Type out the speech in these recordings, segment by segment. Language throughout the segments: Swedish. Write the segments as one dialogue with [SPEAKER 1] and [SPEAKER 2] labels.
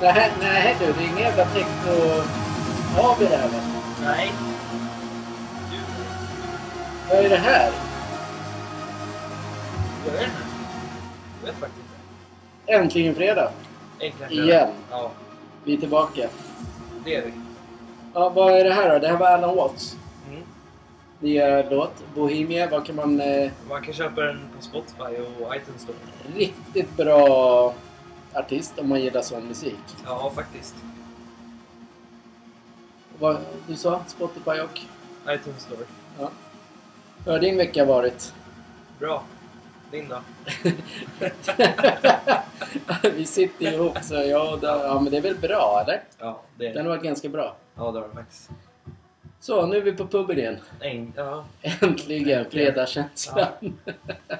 [SPEAKER 1] Nej, nej du, det är ingen jävla techno... Av det där va?
[SPEAKER 2] Nej.
[SPEAKER 1] Vad är det här?
[SPEAKER 2] Du, jag vet inte. Jag vet faktiskt inte.
[SPEAKER 1] Äntligen fredag!
[SPEAKER 2] Enkla
[SPEAKER 1] Igen.
[SPEAKER 2] frågor. Ja,
[SPEAKER 1] Vi är tillbaka.
[SPEAKER 2] det är vi.
[SPEAKER 1] Ja, vad är det här då? Det här var Alan Watts.
[SPEAKER 2] Mm.
[SPEAKER 1] Nya låt. Bohemia. Vad kan man... Eh,
[SPEAKER 2] Man kan köpa den på Spotify och iTunes då.
[SPEAKER 1] riktigt bra artist om man gillar sån musik.
[SPEAKER 2] Ja, faktiskt.
[SPEAKER 1] Vad du sa? Spotify och?
[SPEAKER 2] iTunes Store.
[SPEAKER 1] Ja. Hur har din vecka varit?
[SPEAKER 2] Bra. Din då?
[SPEAKER 1] Vi sitter ihop så jag och Dan- Ja men det är väl bra eller?
[SPEAKER 2] Ja, det är
[SPEAKER 1] Den har varit ganska bra.
[SPEAKER 2] Ja, det var det faktiskt.
[SPEAKER 1] Så, nu är vi på puben igen.
[SPEAKER 2] En, ja.
[SPEAKER 1] Äntligen fredagskänslan. Ja.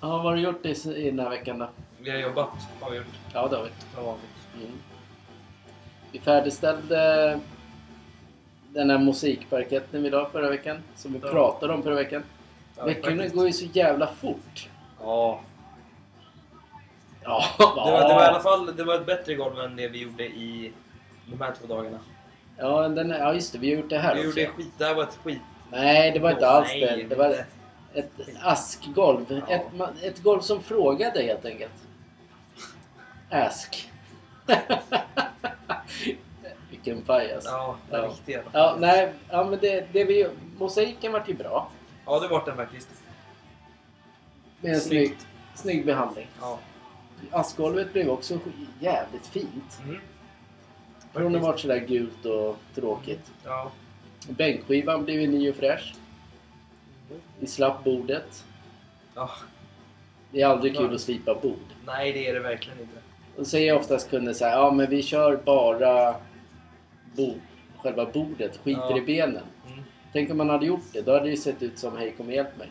[SPEAKER 1] vad har du gjort i, i den här veckan då?
[SPEAKER 2] Vi har jobbat, har vi gjort.
[SPEAKER 1] Ja, det har vi.
[SPEAKER 2] Som vanligt.
[SPEAKER 1] Mm. Vi färdigställde den här musikparketten vi la förra veckan. Som vi
[SPEAKER 2] Ja.
[SPEAKER 1] pratade om förra veckan.
[SPEAKER 2] Ja,
[SPEAKER 1] Veckorna
[SPEAKER 2] faktiskt.
[SPEAKER 1] går ju så jävla fort.
[SPEAKER 2] Ja.
[SPEAKER 1] Ja,
[SPEAKER 2] Det var, det var i alla fall det var ett bättre golv än det vi gjorde i de här två dagarna.
[SPEAKER 1] ja, den, ja just det, vi har gjort det här
[SPEAKER 2] Vi
[SPEAKER 1] också.
[SPEAKER 2] gjorde skit, det här var ett skit.
[SPEAKER 1] Nej, det var inte alls
[SPEAKER 2] Nej,
[SPEAKER 1] det. Det var
[SPEAKER 2] inte.
[SPEAKER 1] ett askgolv.
[SPEAKER 2] Ja.
[SPEAKER 1] Ett, ma- ett golv som frågade helt enkelt. Ask. Vilken pajas. Ja.
[SPEAKER 2] Ja, det var riktigt jävla-
[SPEAKER 1] nej, ja, men det, det vi, mosaiken vart ju bra.
[SPEAKER 2] Ja, det var den faktiskt.
[SPEAKER 1] Med en snygg, snygg behandling.
[SPEAKER 2] Ja.
[SPEAKER 1] Askgolvet blev också sk- jävligt fint.
[SPEAKER 2] Mm.
[SPEAKER 1] Från att varit sådär gult och tråkigt.
[SPEAKER 2] Ja.
[SPEAKER 1] Bänkskivan blev ju ny och fräsch. Vi slapp bordet.
[SPEAKER 2] ja.
[SPEAKER 1] Det är aldrig kul
[SPEAKER 2] Ja.
[SPEAKER 1] att slipa bord.
[SPEAKER 2] Ah. Nej, det är det verkligen inte.
[SPEAKER 1] Då säger oftast kunder så här, ja men vi kör bara bo själva bordet, skiter
[SPEAKER 2] Ja.
[SPEAKER 1] i benen.
[SPEAKER 2] Mm.
[SPEAKER 1] Tänk om man hade gjort det, då hade det ju sett ut som hej kom och hjälp mig.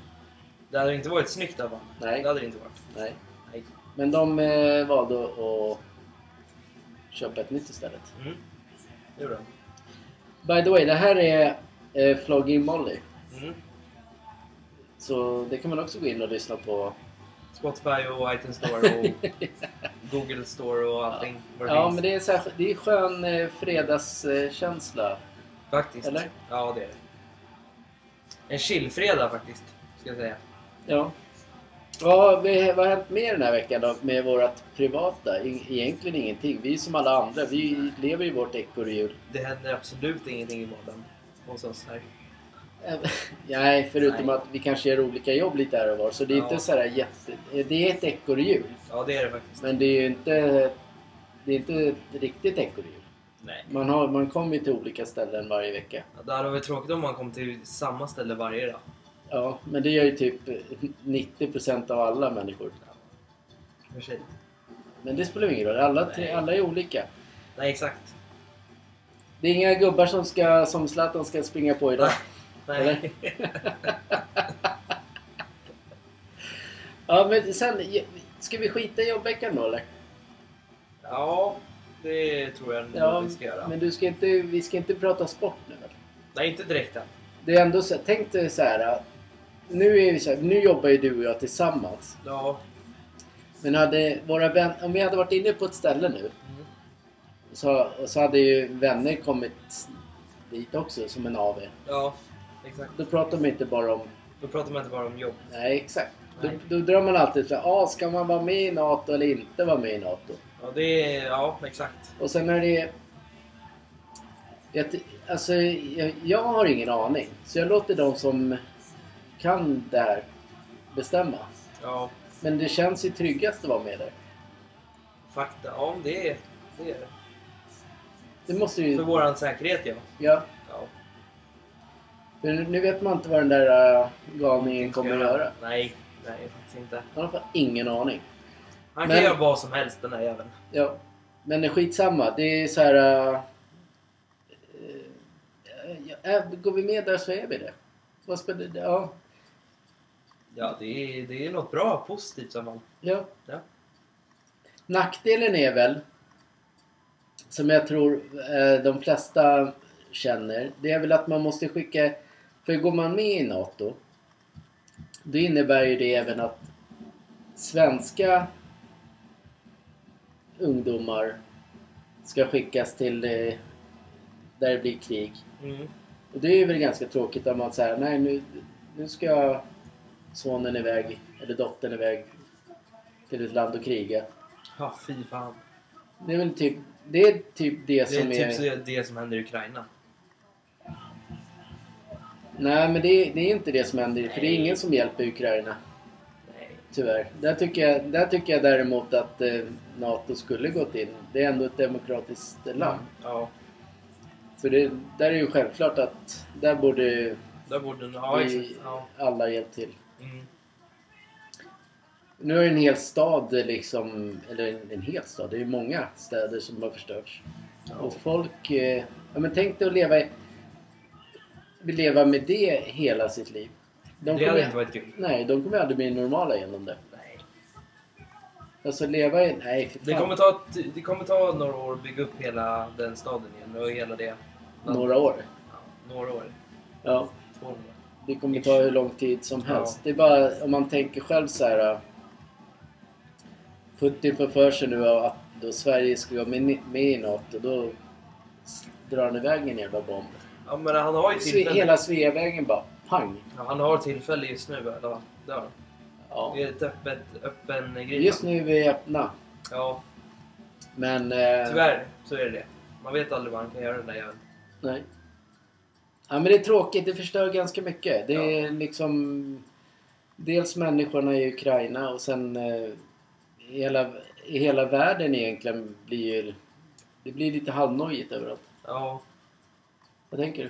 [SPEAKER 2] Det hade inte varit snyggt av honom.
[SPEAKER 1] Nej.
[SPEAKER 2] Det hade det inte varit.
[SPEAKER 1] Nej.
[SPEAKER 2] Nej.
[SPEAKER 1] Men de eh, valde att köpa ett nytt istället.
[SPEAKER 2] Mm. Det gjorde han.
[SPEAKER 1] By the way, det här är eh, Flogging Molly.
[SPEAKER 2] Mm.
[SPEAKER 1] Så det kan man också gå in och lyssna på.
[SPEAKER 2] Spotify och iTunes Store och Google Store och allting. vad det
[SPEAKER 1] Ja,
[SPEAKER 2] finns.
[SPEAKER 1] men det är, så här, det är skön eh, fredagskänsla.
[SPEAKER 2] Faktiskt.
[SPEAKER 1] Eller?
[SPEAKER 2] Ja, det är det. En chillfredag faktiskt, ska jag säga.
[SPEAKER 1] Ja. Ja, vi, vad har hänt mer den här veckan då med vårt privata? E- Egentligen ingenting. Vi är som alla andra, vi lever ju vårt ekorrhjul.
[SPEAKER 2] Det händer absolut ingenting i vardagen hos oss här.
[SPEAKER 1] Eh, Nej, förutom
[SPEAKER 2] Nej.
[SPEAKER 1] att vi kanske gör olika jobb lite här och var. Så det är
[SPEAKER 2] Ja.
[SPEAKER 1] inte så här jätte... eh, Det är ett ekorrhjul.
[SPEAKER 2] Ja, det är det faktiskt.
[SPEAKER 1] Men det är ju inte... Det är inte ett riktigt ekorrhjul.
[SPEAKER 2] Nej.
[SPEAKER 1] Man, har- man kommer ju till olika ställen varje vecka.
[SPEAKER 2] Ja, Det hade varit tråkigt om man kom till samma ställe varje dag.
[SPEAKER 1] Ja, men det gör ju typ 90% av alla människor.
[SPEAKER 2] För sig.
[SPEAKER 1] Men det spelar ingen roll, alla,
[SPEAKER 2] Nej.
[SPEAKER 1] alla är olika.
[SPEAKER 2] Nej, exakt.
[SPEAKER 1] Det är inga gubbar som, ska, som Zlatan ska springa på idag.
[SPEAKER 2] Nej.
[SPEAKER 1] Ja, men sen... Ska vi skita i jobbveckan då
[SPEAKER 2] Mm,
[SPEAKER 1] eller?
[SPEAKER 2] Ja, det tror jag nog vi ska göra.
[SPEAKER 1] men du ska inte, vi ska inte prata sport nu väl?
[SPEAKER 2] Nej, inte direkt än.
[SPEAKER 1] Det är ändå så, tänk dig så här. Nu, är vi så här, nu jobbar ju du och jag tillsammans.
[SPEAKER 2] Ja.
[SPEAKER 1] Men hade våra vän, om vi hade varit inne på ett ställe nu
[SPEAKER 2] Mm.
[SPEAKER 1] så, så hade ju vänner kommit dit också som en av er.
[SPEAKER 2] Ja, exakt.
[SPEAKER 1] Då pratar man inte bara om...
[SPEAKER 2] Då pratar man inte bara om jobb.
[SPEAKER 1] Nej, exakt.
[SPEAKER 2] Nej.
[SPEAKER 1] Då, då drar man alltid så här, ah, ska man vara med i NATO eller inte vara med i NATO?
[SPEAKER 2] Ja, det är... Ja, exakt.
[SPEAKER 1] Och sen är det... Jag, ty- alltså, jag, jag har ingen aning. Så jag låter de som kan det här bestämma.
[SPEAKER 2] Ja,
[SPEAKER 1] Men det känns ju tryggast att vara med där.
[SPEAKER 2] fakta. Ja, det är det. Är.
[SPEAKER 1] Det måste
[SPEAKER 2] det. För
[SPEAKER 1] ju...
[SPEAKER 2] våran säkerhet, ja.
[SPEAKER 1] Ja.
[SPEAKER 2] ja.
[SPEAKER 1] För nu- nu vet man inte vad den där äh, galningen kommer att göra.
[SPEAKER 2] Nej, nej faktiskt inte.
[SPEAKER 1] Han har fan ingen aning.
[SPEAKER 2] Han
[SPEAKER 1] Men-
[SPEAKER 2] kan göra vad som helst den där jäveln.
[SPEAKER 1] Ja. Men det är skitsamma. Det är så här... äh, eh, ja, äh, går vi med där så är vi det. Vad spelar det? Ja.
[SPEAKER 2] Ja, det är, det är något bra, positivt som man.
[SPEAKER 1] ja.
[SPEAKER 2] Ja.
[SPEAKER 1] Nackdelen är väl, som jag tror eh, de flesta känner, det är väl att man måste skicka... För går man med i NATO, då innebär ju det även att svenska ungdomar ska skickas till eh, där det blir krig.
[SPEAKER 2] Mm.
[SPEAKER 1] Och det är väl ganska tråkigt om man säger nej nu, nu ska sonen iväg, eller dottern iväg till ett land och kriga.
[SPEAKER 2] Ja, fy fan.
[SPEAKER 1] Det är väl typ det, är typ det,
[SPEAKER 2] Det är
[SPEAKER 1] som
[SPEAKER 2] typ
[SPEAKER 1] är...
[SPEAKER 2] så- det som händer i Ukraina.
[SPEAKER 1] Nej men det, är- det är inte det som händer, för det är
[SPEAKER 2] Nej.
[SPEAKER 1] ingen som hjälper Ukraina.
[SPEAKER 2] Nej.
[SPEAKER 1] Tyvärr. Där tycker jag, där tycker jag däremot att eh, NATO skulle gått in. Det är ändå ett demokratiskt land.
[SPEAKER 2] Ja,
[SPEAKER 1] Så det, där är ju självklart att där borde
[SPEAKER 2] där borde... Ja,
[SPEAKER 1] vi
[SPEAKER 2] exakt. Ja.
[SPEAKER 1] alla hjälpa till.
[SPEAKER 2] Mm.
[SPEAKER 1] Nu är en hel stad liksom, eller en, en hel stad, det är ju många städer som har förstörts. Och folk, eh, ja men tänk dig att leva, i- leva med det hela sitt liv. De
[SPEAKER 2] Det
[SPEAKER 1] kommer-
[SPEAKER 2] hade inte varit kul.
[SPEAKER 1] Nej, de kommer aldrig bli normala genom det.
[SPEAKER 2] Nej.
[SPEAKER 1] Alltså leva i, nej för
[SPEAKER 2] Det
[SPEAKER 1] fan,
[SPEAKER 2] kommer, ta, ett- det kommer ta några år att bygga upp hela den staden igen och hela det.
[SPEAKER 1] några år.
[SPEAKER 2] Ja, några år.
[SPEAKER 1] Ja,
[SPEAKER 2] Två år.
[SPEAKER 1] det kommer ta hur lång tid som helst. Det är bara om man tänker själv så här. eh, Putin får för sig nu att då Sverige ska vara med, med i NATO, då s- drar han iväg en jävla bomb.
[SPEAKER 2] Ja, men han har ju
[SPEAKER 1] Sve,
[SPEAKER 2] tillfälle.
[SPEAKER 1] hela Sveavägen bara pang.
[SPEAKER 2] Ja, han har tillfälle just nu i alla fall. Det har han.
[SPEAKER 1] Ja.
[SPEAKER 2] Det är ett öppet, öppen grej.
[SPEAKER 1] Just nu är vi öppna.
[SPEAKER 2] Ja,
[SPEAKER 1] Men... Eh,
[SPEAKER 2] tyvärr så är det det. Man vet aldrig vad han kan göra den där jäveln.
[SPEAKER 1] Nej. Ja men det är tråkigt, det förstör ganska mycket. Det är liksom... Dels människorna i Ukraina och sen eh, hela, i hela världen egentligen blir ju... Det blir lite halvnojigt överallt.
[SPEAKER 2] Ja,
[SPEAKER 1] Vad tänker du?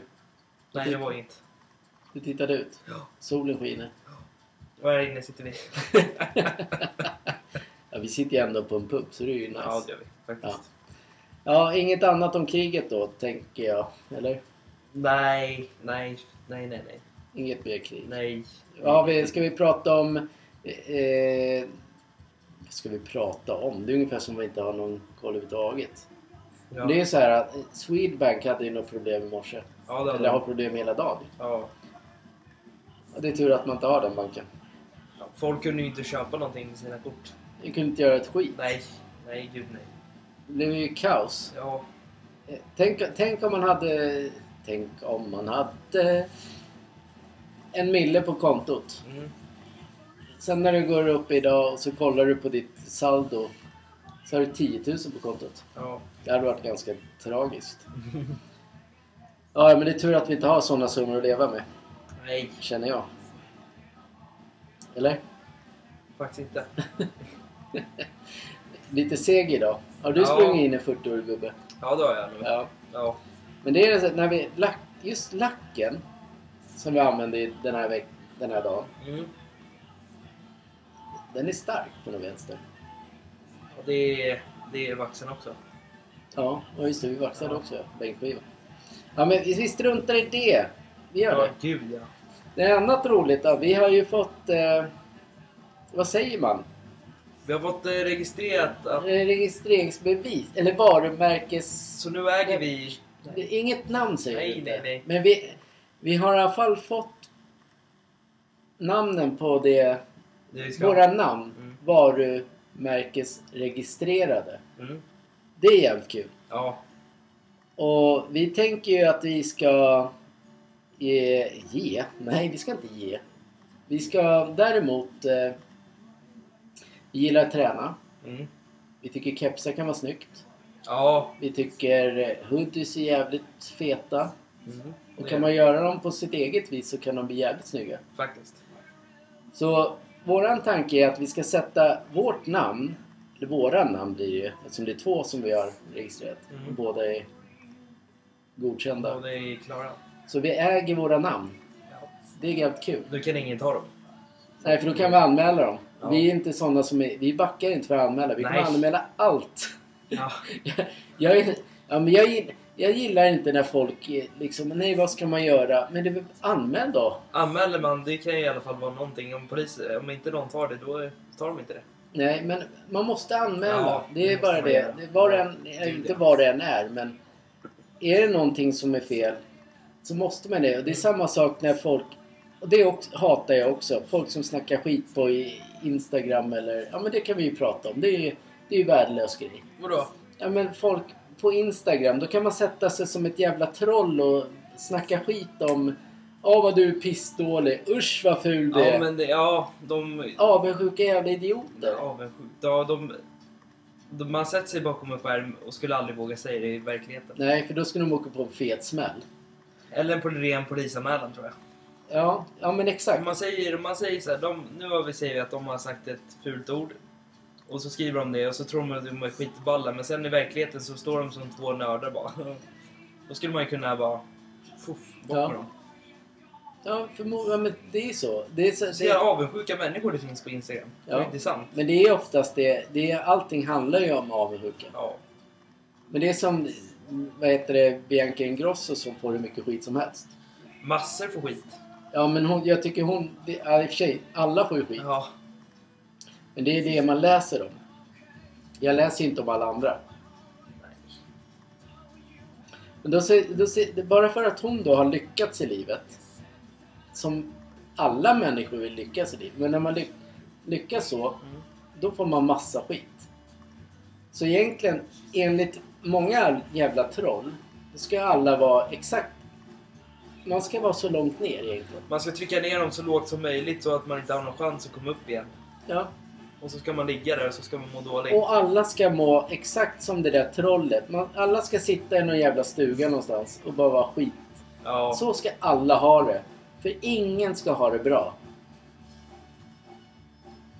[SPEAKER 2] nej det var inget.
[SPEAKER 1] Du tittade ut.
[SPEAKER 2] Ja.
[SPEAKER 1] Solen skiner.
[SPEAKER 2] Och här inne sitter vi.
[SPEAKER 1] Ja, vi sitter ju ändå på en pub så det är ju nice.
[SPEAKER 2] Ja, det gör vi faktiskt.
[SPEAKER 1] ja, inget annat om kriget då tänker jag. Eller?
[SPEAKER 2] Nej, nej, nej, nej, nej.
[SPEAKER 1] Inget mer krig.
[SPEAKER 2] Nej.
[SPEAKER 1] Ja, vi, ska vi prata om... Eh, vad ska vi prata om? Det är ungefär som att vi inte har någon koll överhuvudtaget.
[SPEAKER 2] Ja,
[SPEAKER 1] Det är så här att eh, Swedbank hade ju något problem i morse.
[SPEAKER 2] ja det
[SPEAKER 1] Eller har
[SPEAKER 2] har vi.
[SPEAKER 1] problem hela dagen.
[SPEAKER 2] Ja.
[SPEAKER 1] Och det är tur att man inte har den banken.
[SPEAKER 2] Ja, Folk kunde ju inte köpa någonting med sina kort.
[SPEAKER 1] Vi kunde inte göra ett skit.
[SPEAKER 2] Nej, nej, gud nej.
[SPEAKER 1] Det blev ju kaos.
[SPEAKER 2] Ja,
[SPEAKER 1] Eh, Tänk, tänk om man hade... Tänk om man hade... En mille på kontot.
[SPEAKER 2] mm.
[SPEAKER 1] Sen när du går upp idag och så kollar du på ditt saldo. Så har du 10 000 på kontot.
[SPEAKER 2] ja.
[SPEAKER 1] Det hade varit ganska tragiskt. Ja, men det är tur att vi inte har sådana summor att leva med,
[SPEAKER 2] Nej,
[SPEAKER 1] känner jag. Eller?
[SPEAKER 2] faktiskt inte.
[SPEAKER 1] Lite seg idag. Har du
[SPEAKER 2] Ja.
[SPEAKER 1] sprungit in en 40-årig gubbe?
[SPEAKER 2] Ja, det har jag nog.
[SPEAKER 1] Ja.
[SPEAKER 2] Ja.
[SPEAKER 1] Men det är så att när vi... Lack, just lacken som vi använder i den här, veck, den här dagen,
[SPEAKER 2] Mm.
[SPEAKER 1] den är stark på något vänster.
[SPEAKER 2] Och det är, det är vaxen också.
[SPEAKER 1] Ja, och just det, vi vaxade
[SPEAKER 2] Ja.
[SPEAKER 1] också bänkskiva. Ja, men vi vi struntar i det. Vi gör det.
[SPEAKER 2] Ja, gud ja.
[SPEAKER 1] Det är annat roligt då. Vi har ju fått... Eh, vad säger man?
[SPEAKER 2] Vi har fått eh, registrerat att...
[SPEAKER 1] Eh, Registreringsbevis, eller varumärkes...
[SPEAKER 2] Så nu äger vi...
[SPEAKER 1] Det är Inget namn säger
[SPEAKER 2] Nej,
[SPEAKER 1] vi inte.
[SPEAKER 2] nej, nej.
[SPEAKER 1] Men vi, vi har i alla fall fått namnen på det,
[SPEAKER 2] Det vi ska...
[SPEAKER 1] våra namn,
[SPEAKER 2] Mm.
[SPEAKER 1] varumärkesregistrerade.
[SPEAKER 2] Mm.
[SPEAKER 1] Det är jävligt kul.
[SPEAKER 2] Ja.
[SPEAKER 1] Och vi tänker ju att vi ska ge, ge. Nej, vi ska inte ge. Vi ska däremot eh, vi gillar att träna.
[SPEAKER 2] Mm.
[SPEAKER 1] Vi tycker kepsar kan vara snyggt.
[SPEAKER 2] Ja.
[SPEAKER 1] Vi tycker eh, hoodies är jävligt feta.
[SPEAKER 2] Mm.
[SPEAKER 1] Och
[SPEAKER 2] Det-
[SPEAKER 1] kan man göra dem på sitt eget vis så kan de bli jävligt snygga.
[SPEAKER 2] Faktiskt.
[SPEAKER 1] Så våran tanke är att vi ska sätta vårt namn, eller våra namn blir det ju, eftersom det är två som vi har registrerat.
[SPEAKER 2] Mm.
[SPEAKER 1] Och båda är
[SPEAKER 2] Och
[SPEAKER 1] godkända.
[SPEAKER 2] det är Klara.
[SPEAKER 1] Så vi äger våra namn. Det är jävligt kul.
[SPEAKER 2] Då kan ingen ta dem.
[SPEAKER 1] Nej, för då kan vi anmäla dem.
[SPEAKER 2] Ja.
[SPEAKER 1] Vi är inte sådana som är, Vi backar inte för att anmäla. Vi kommer
[SPEAKER 2] Nej.
[SPEAKER 1] anmäla allt.
[SPEAKER 2] Ja.
[SPEAKER 1] Jag, jag, är- ja, men jag, gill- jag gillar inte när folk är liksom, nej vad ska man göra? Men det är väl anmäl då.
[SPEAKER 2] Anmäler man, det kan ju i alla fall vara någonting. Om, polis, om inte någon tar det, då tar de inte det.
[SPEAKER 1] Nej, men man måste anmäla.
[SPEAKER 2] Ja,
[SPEAKER 1] det
[SPEAKER 2] det
[SPEAKER 1] är
[SPEAKER 2] måste
[SPEAKER 1] bara
[SPEAKER 2] man
[SPEAKER 1] det.
[SPEAKER 2] göra.
[SPEAKER 1] det är var en, eh,
[SPEAKER 2] Det är
[SPEAKER 1] inte
[SPEAKER 2] det.
[SPEAKER 1] var det än är, men är det någonting som är fel så måste man det. Och det är samma sak när folk, och det också, hatar jag också, folk som snackar skit på i Instagram eller, ja men det kan vi ju prata om. Det är ju det är ju värdelös grej.
[SPEAKER 2] Vadå?
[SPEAKER 1] Ja men folk på Instagram, då kan man sätta sig som ett jävla troll och snacka skit om Ja vad du är pissdålig, usch vad ful du är.
[SPEAKER 2] Ja, men det, ja, de...
[SPEAKER 1] Avundsjuka jävla idioter.
[SPEAKER 2] Avundsjuka. Ja, de, de, man sätter sig bakom en skärm och skulle aldrig våga säga det i verkligheten.
[SPEAKER 1] Nej, för då skulle de åka på en fet smäll.
[SPEAKER 2] Eller på ren polisanmälan tror jag.
[SPEAKER 1] Ja, ja men
[SPEAKER 2] Om
[SPEAKER 1] exakt.
[SPEAKER 2] Man säger, om man säger så här, de, nu har vi säger vi att de har sagt ett fult ord. Och så skriver de det och så tror man att de är skitballa men sen i verkligheten så står de som två nördar bara. Då skulle man ju kunna bara... Fuff, bort
[SPEAKER 1] Ja.
[SPEAKER 2] med dem.
[SPEAKER 1] Ja, förmo- ja, men det är så. Det är så,
[SPEAKER 2] Så
[SPEAKER 1] det
[SPEAKER 2] jävla avundsjuka människor det finns på Instagram. Det
[SPEAKER 1] Ja.
[SPEAKER 2] är inte sant.
[SPEAKER 1] men det är oftast det, det är, allting handlar ju om avundsjuka.
[SPEAKER 2] Ja.
[SPEAKER 1] Men det är som, vad heter det, Bianca Ingrosso som får hur mycket skit som helst.
[SPEAKER 2] Massor för skit.
[SPEAKER 1] Ja men hon, jag tycker hon, det, ja, i och för sig, alla får ju skit.
[SPEAKER 2] Ja.
[SPEAKER 1] Men det är det man läser om. Jag läser ju inte om alla andra. Men då, se- då, se- det- bara för att hon då har lyckats i livet, som alla människor vill lyckas i livet, men när man ly- lyckas så,
[SPEAKER 2] Mm.
[SPEAKER 1] då får man massa skit. Så egentligen, enligt många jävla troll, då ska alla vara exakt... Man ska vara så långt ner egentligen.
[SPEAKER 2] Man ska trycka ner dem så lågt som möjligt så att man inte har någon chans att komma upp igen.
[SPEAKER 1] Ja.
[SPEAKER 2] Och så ska man ligga där och så ska man må dåligt.
[SPEAKER 1] Och alla ska må exakt som det där trollet. Man, alla ska sitta i någon jävla stuga någonstans och bara vara skit.
[SPEAKER 2] Ja.
[SPEAKER 1] Så ska alla ha det. För ingen ska ha det bra.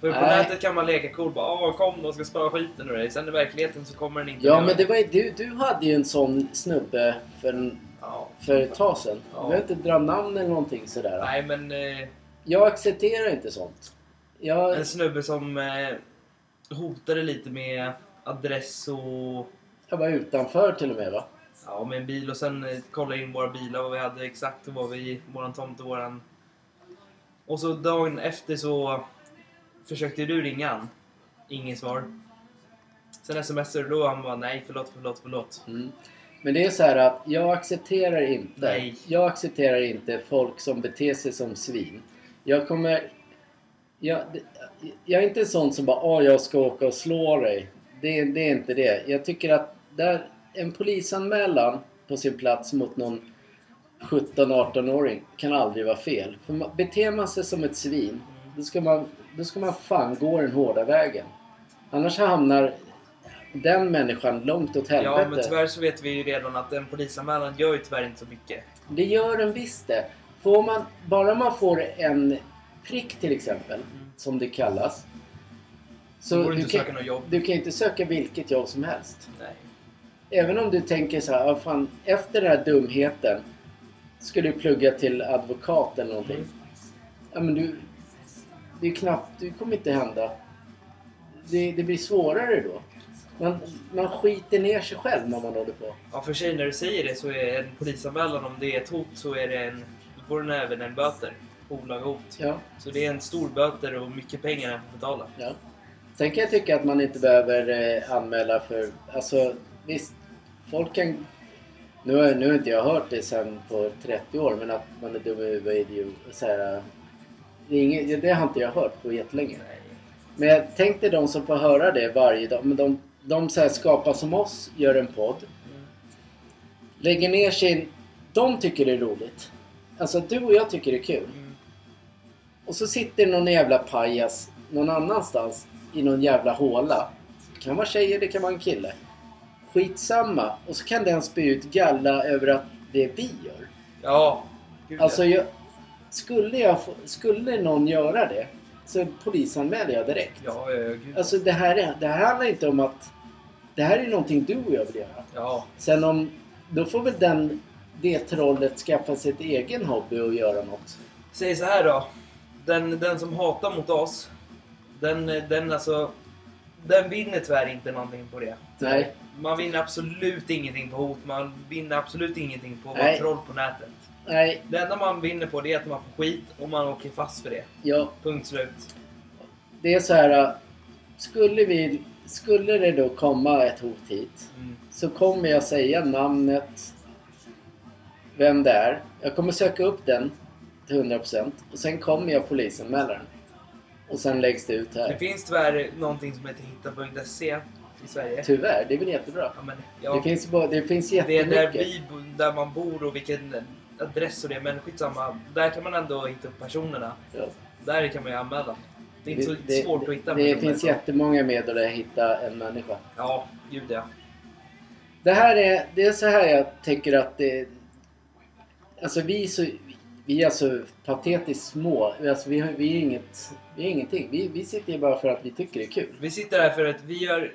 [SPEAKER 2] För på
[SPEAKER 1] Nej.
[SPEAKER 2] nätet kan man leka cool bara "Ah, kom då ska spöa skiten ur dig. Sen i verkligheten så kommer den inte
[SPEAKER 1] Ja
[SPEAKER 2] med.
[SPEAKER 1] men det var ju, du, du hade ju en sån snubbe för, en,
[SPEAKER 2] Ja.
[SPEAKER 1] för ett tag sedan. Du
[SPEAKER 2] Ja.
[SPEAKER 1] behöver inte dra namn eller någonting sådär.
[SPEAKER 2] Nej men eh,
[SPEAKER 1] Jag accepterar inte sånt. Jag,
[SPEAKER 2] en snubbe som eh, hotade lite med adress och
[SPEAKER 1] jag var utanför till och med va?
[SPEAKER 2] ja, med en bil och sen eh, kollade in våra bilar vad vi hade exakt och vad vi, våran tomt och våran... Och så dagen efter så försökte du ringa han. Inget svar. Sen smsade du då och han bara nej förlåt förlåt förlåt.
[SPEAKER 1] Mm. Men det är så här att jag accepterar inte.
[SPEAKER 2] Nej.
[SPEAKER 1] Jag accepterar inte folk som beter sig som svin. Jag kommer... Jag, jag är inte en sån som bara åh jag ska åka och slå dig. Det, det är inte det. Jag tycker att där en polisanmälan på sin plats mot någon 17-18-åring kan aldrig vara fel. För man, beter man sig som ett svin då ska, man, då ska man fan gå den hårda vägen. Annars hamnar den människan långt åt helvete.
[SPEAKER 2] Ja men tyvärr så vet vi ju redan att en polisanmälan gör ju tyvärr inte så mycket.
[SPEAKER 1] Det gör den visst det. Får man, bara man får en prick till exempel,
[SPEAKER 2] Mm.
[SPEAKER 1] som det kallas.
[SPEAKER 2] Så borde
[SPEAKER 1] du,
[SPEAKER 2] inte
[SPEAKER 1] kan,
[SPEAKER 2] söka något jobb.
[SPEAKER 1] du kan inte söka vilket jobb som helst.
[SPEAKER 2] Nej.
[SPEAKER 1] Även om du tänker så här, ah, fan, efter den här dumheten ska du plugga till advokat eller någonting.
[SPEAKER 2] Mm.
[SPEAKER 1] Ja men du, det är knappt, det kommer inte hända. Det, det blir svårare då. Man, man skiter ner sig själv när man håller på.
[SPEAKER 2] Ja för sig när du säger det så är en polisanmälan om det är ett hot så är det en... Då får den även en böter. Olaga hot.
[SPEAKER 1] Ja,
[SPEAKER 2] Så det är en stor böter och mycket pengar den får betala.
[SPEAKER 1] ja. Sen kan jag tycka att man inte behöver eh, anmäla för, alltså visst, folk kan... Nu har, nu har inte jag hört det sen på 30 år, men att man är dum i huvudet, idiot, så här, det, är inget, det har inte jag hört på jättelänge.
[SPEAKER 2] Nej.
[SPEAKER 1] Men jag tänkte de som får höra det varje dag. Men de, de så här skapar som oss, gör en podd. Lägger ner sin... De tycker det är roligt. Alltså du och jag tycker det är kul.
[SPEAKER 2] Mm.
[SPEAKER 1] Och så sitter någon jävla pajas någon annanstans i någon jävla håla. Det kan vara tjejer, det kan vara en kille. Skitsamma. Och så kan den spy ut galla över att det är vi gör.
[SPEAKER 2] Ja. Gud,
[SPEAKER 1] Alltså jag, skulle, jag, få- skulle någon göra det så polisanmäler jag direkt.
[SPEAKER 2] Ja, ja, ja, gud.
[SPEAKER 1] Alltså det här, är, det här handlar inte om att... Det här är någonting du och jag vill göra.
[SPEAKER 2] ja.
[SPEAKER 1] Sen om... Då får väl den, det trollet skaffa sig ett egen hobby och göra något.
[SPEAKER 2] Säg så här då. Den, den som hatar mot oss, den, den alltså... Den vinner tyvärr inte någonting på det.
[SPEAKER 1] Nej.
[SPEAKER 2] Man vinner absolut ingenting på hot, man vinner absolut ingenting på att vara
[SPEAKER 1] Nej.
[SPEAKER 2] troll på nätet.
[SPEAKER 1] Nej,
[SPEAKER 2] Det enda man vinner på det är att man får skit och man åker fast för det.
[SPEAKER 1] ja.
[SPEAKER 2] Punkt slut.
[SPEAKER 1] Det är så här. äh, Skulle, vi, skulle det då komma ett hot hit
[SPEAKER 2] Mm.
[SPEAKER 1] så kommer jag säga namnet, vem det är. Jag kommer söka upp den till 100% och sen kommer jag polisanmäla den. Och sen läggs det ut
[SPEAKER 2] Det
[SPEAKER 1] här.
[SPEAKER 2] finns tyvärr någonting som heter hitta.se E i Sverige.
[SPEAKER 1] Tyvärr, det är väl jättebra.
[SPEAKER 2] Ja, men,
[SPEAKER 1] Typ. Det
[SPEAKER 2] ja,
[SPEAKER 1] finns, ju bara- det finns
[SPEAKER 2] det är där,
[SPEAKER 1] jättemycket.
[SPEAKER 2] vi, bo- där man bor och vilken adress och det, men skitsamma. Där kan man ändå hitta upp personerna.
[SPEAKER 1] Ja.
[SPEAKER 2] Där kan man ju anmäla. Det är inte så
[SPEAKER 1] det,
[SPEAKER 2] svårt att hitta
[SPEAKER 1] Det, det
[SPEAKER 2] personer.
[SPEAKER 1] finns jättemånga medel att hitta en människa.
[SPEAKER 2] Ja, gud ja.
[SPEAKER 1] Det här är, det är så här jag tycker att det... Alltså vi är så, vi är så patetiskt små. Alltså vi, har- vi, är inget, vi är ingenting. Vi, vi sitter ju bara för att vi tycker det är kul.
[SPEAKER 2] Vi sitter här för att vi gör...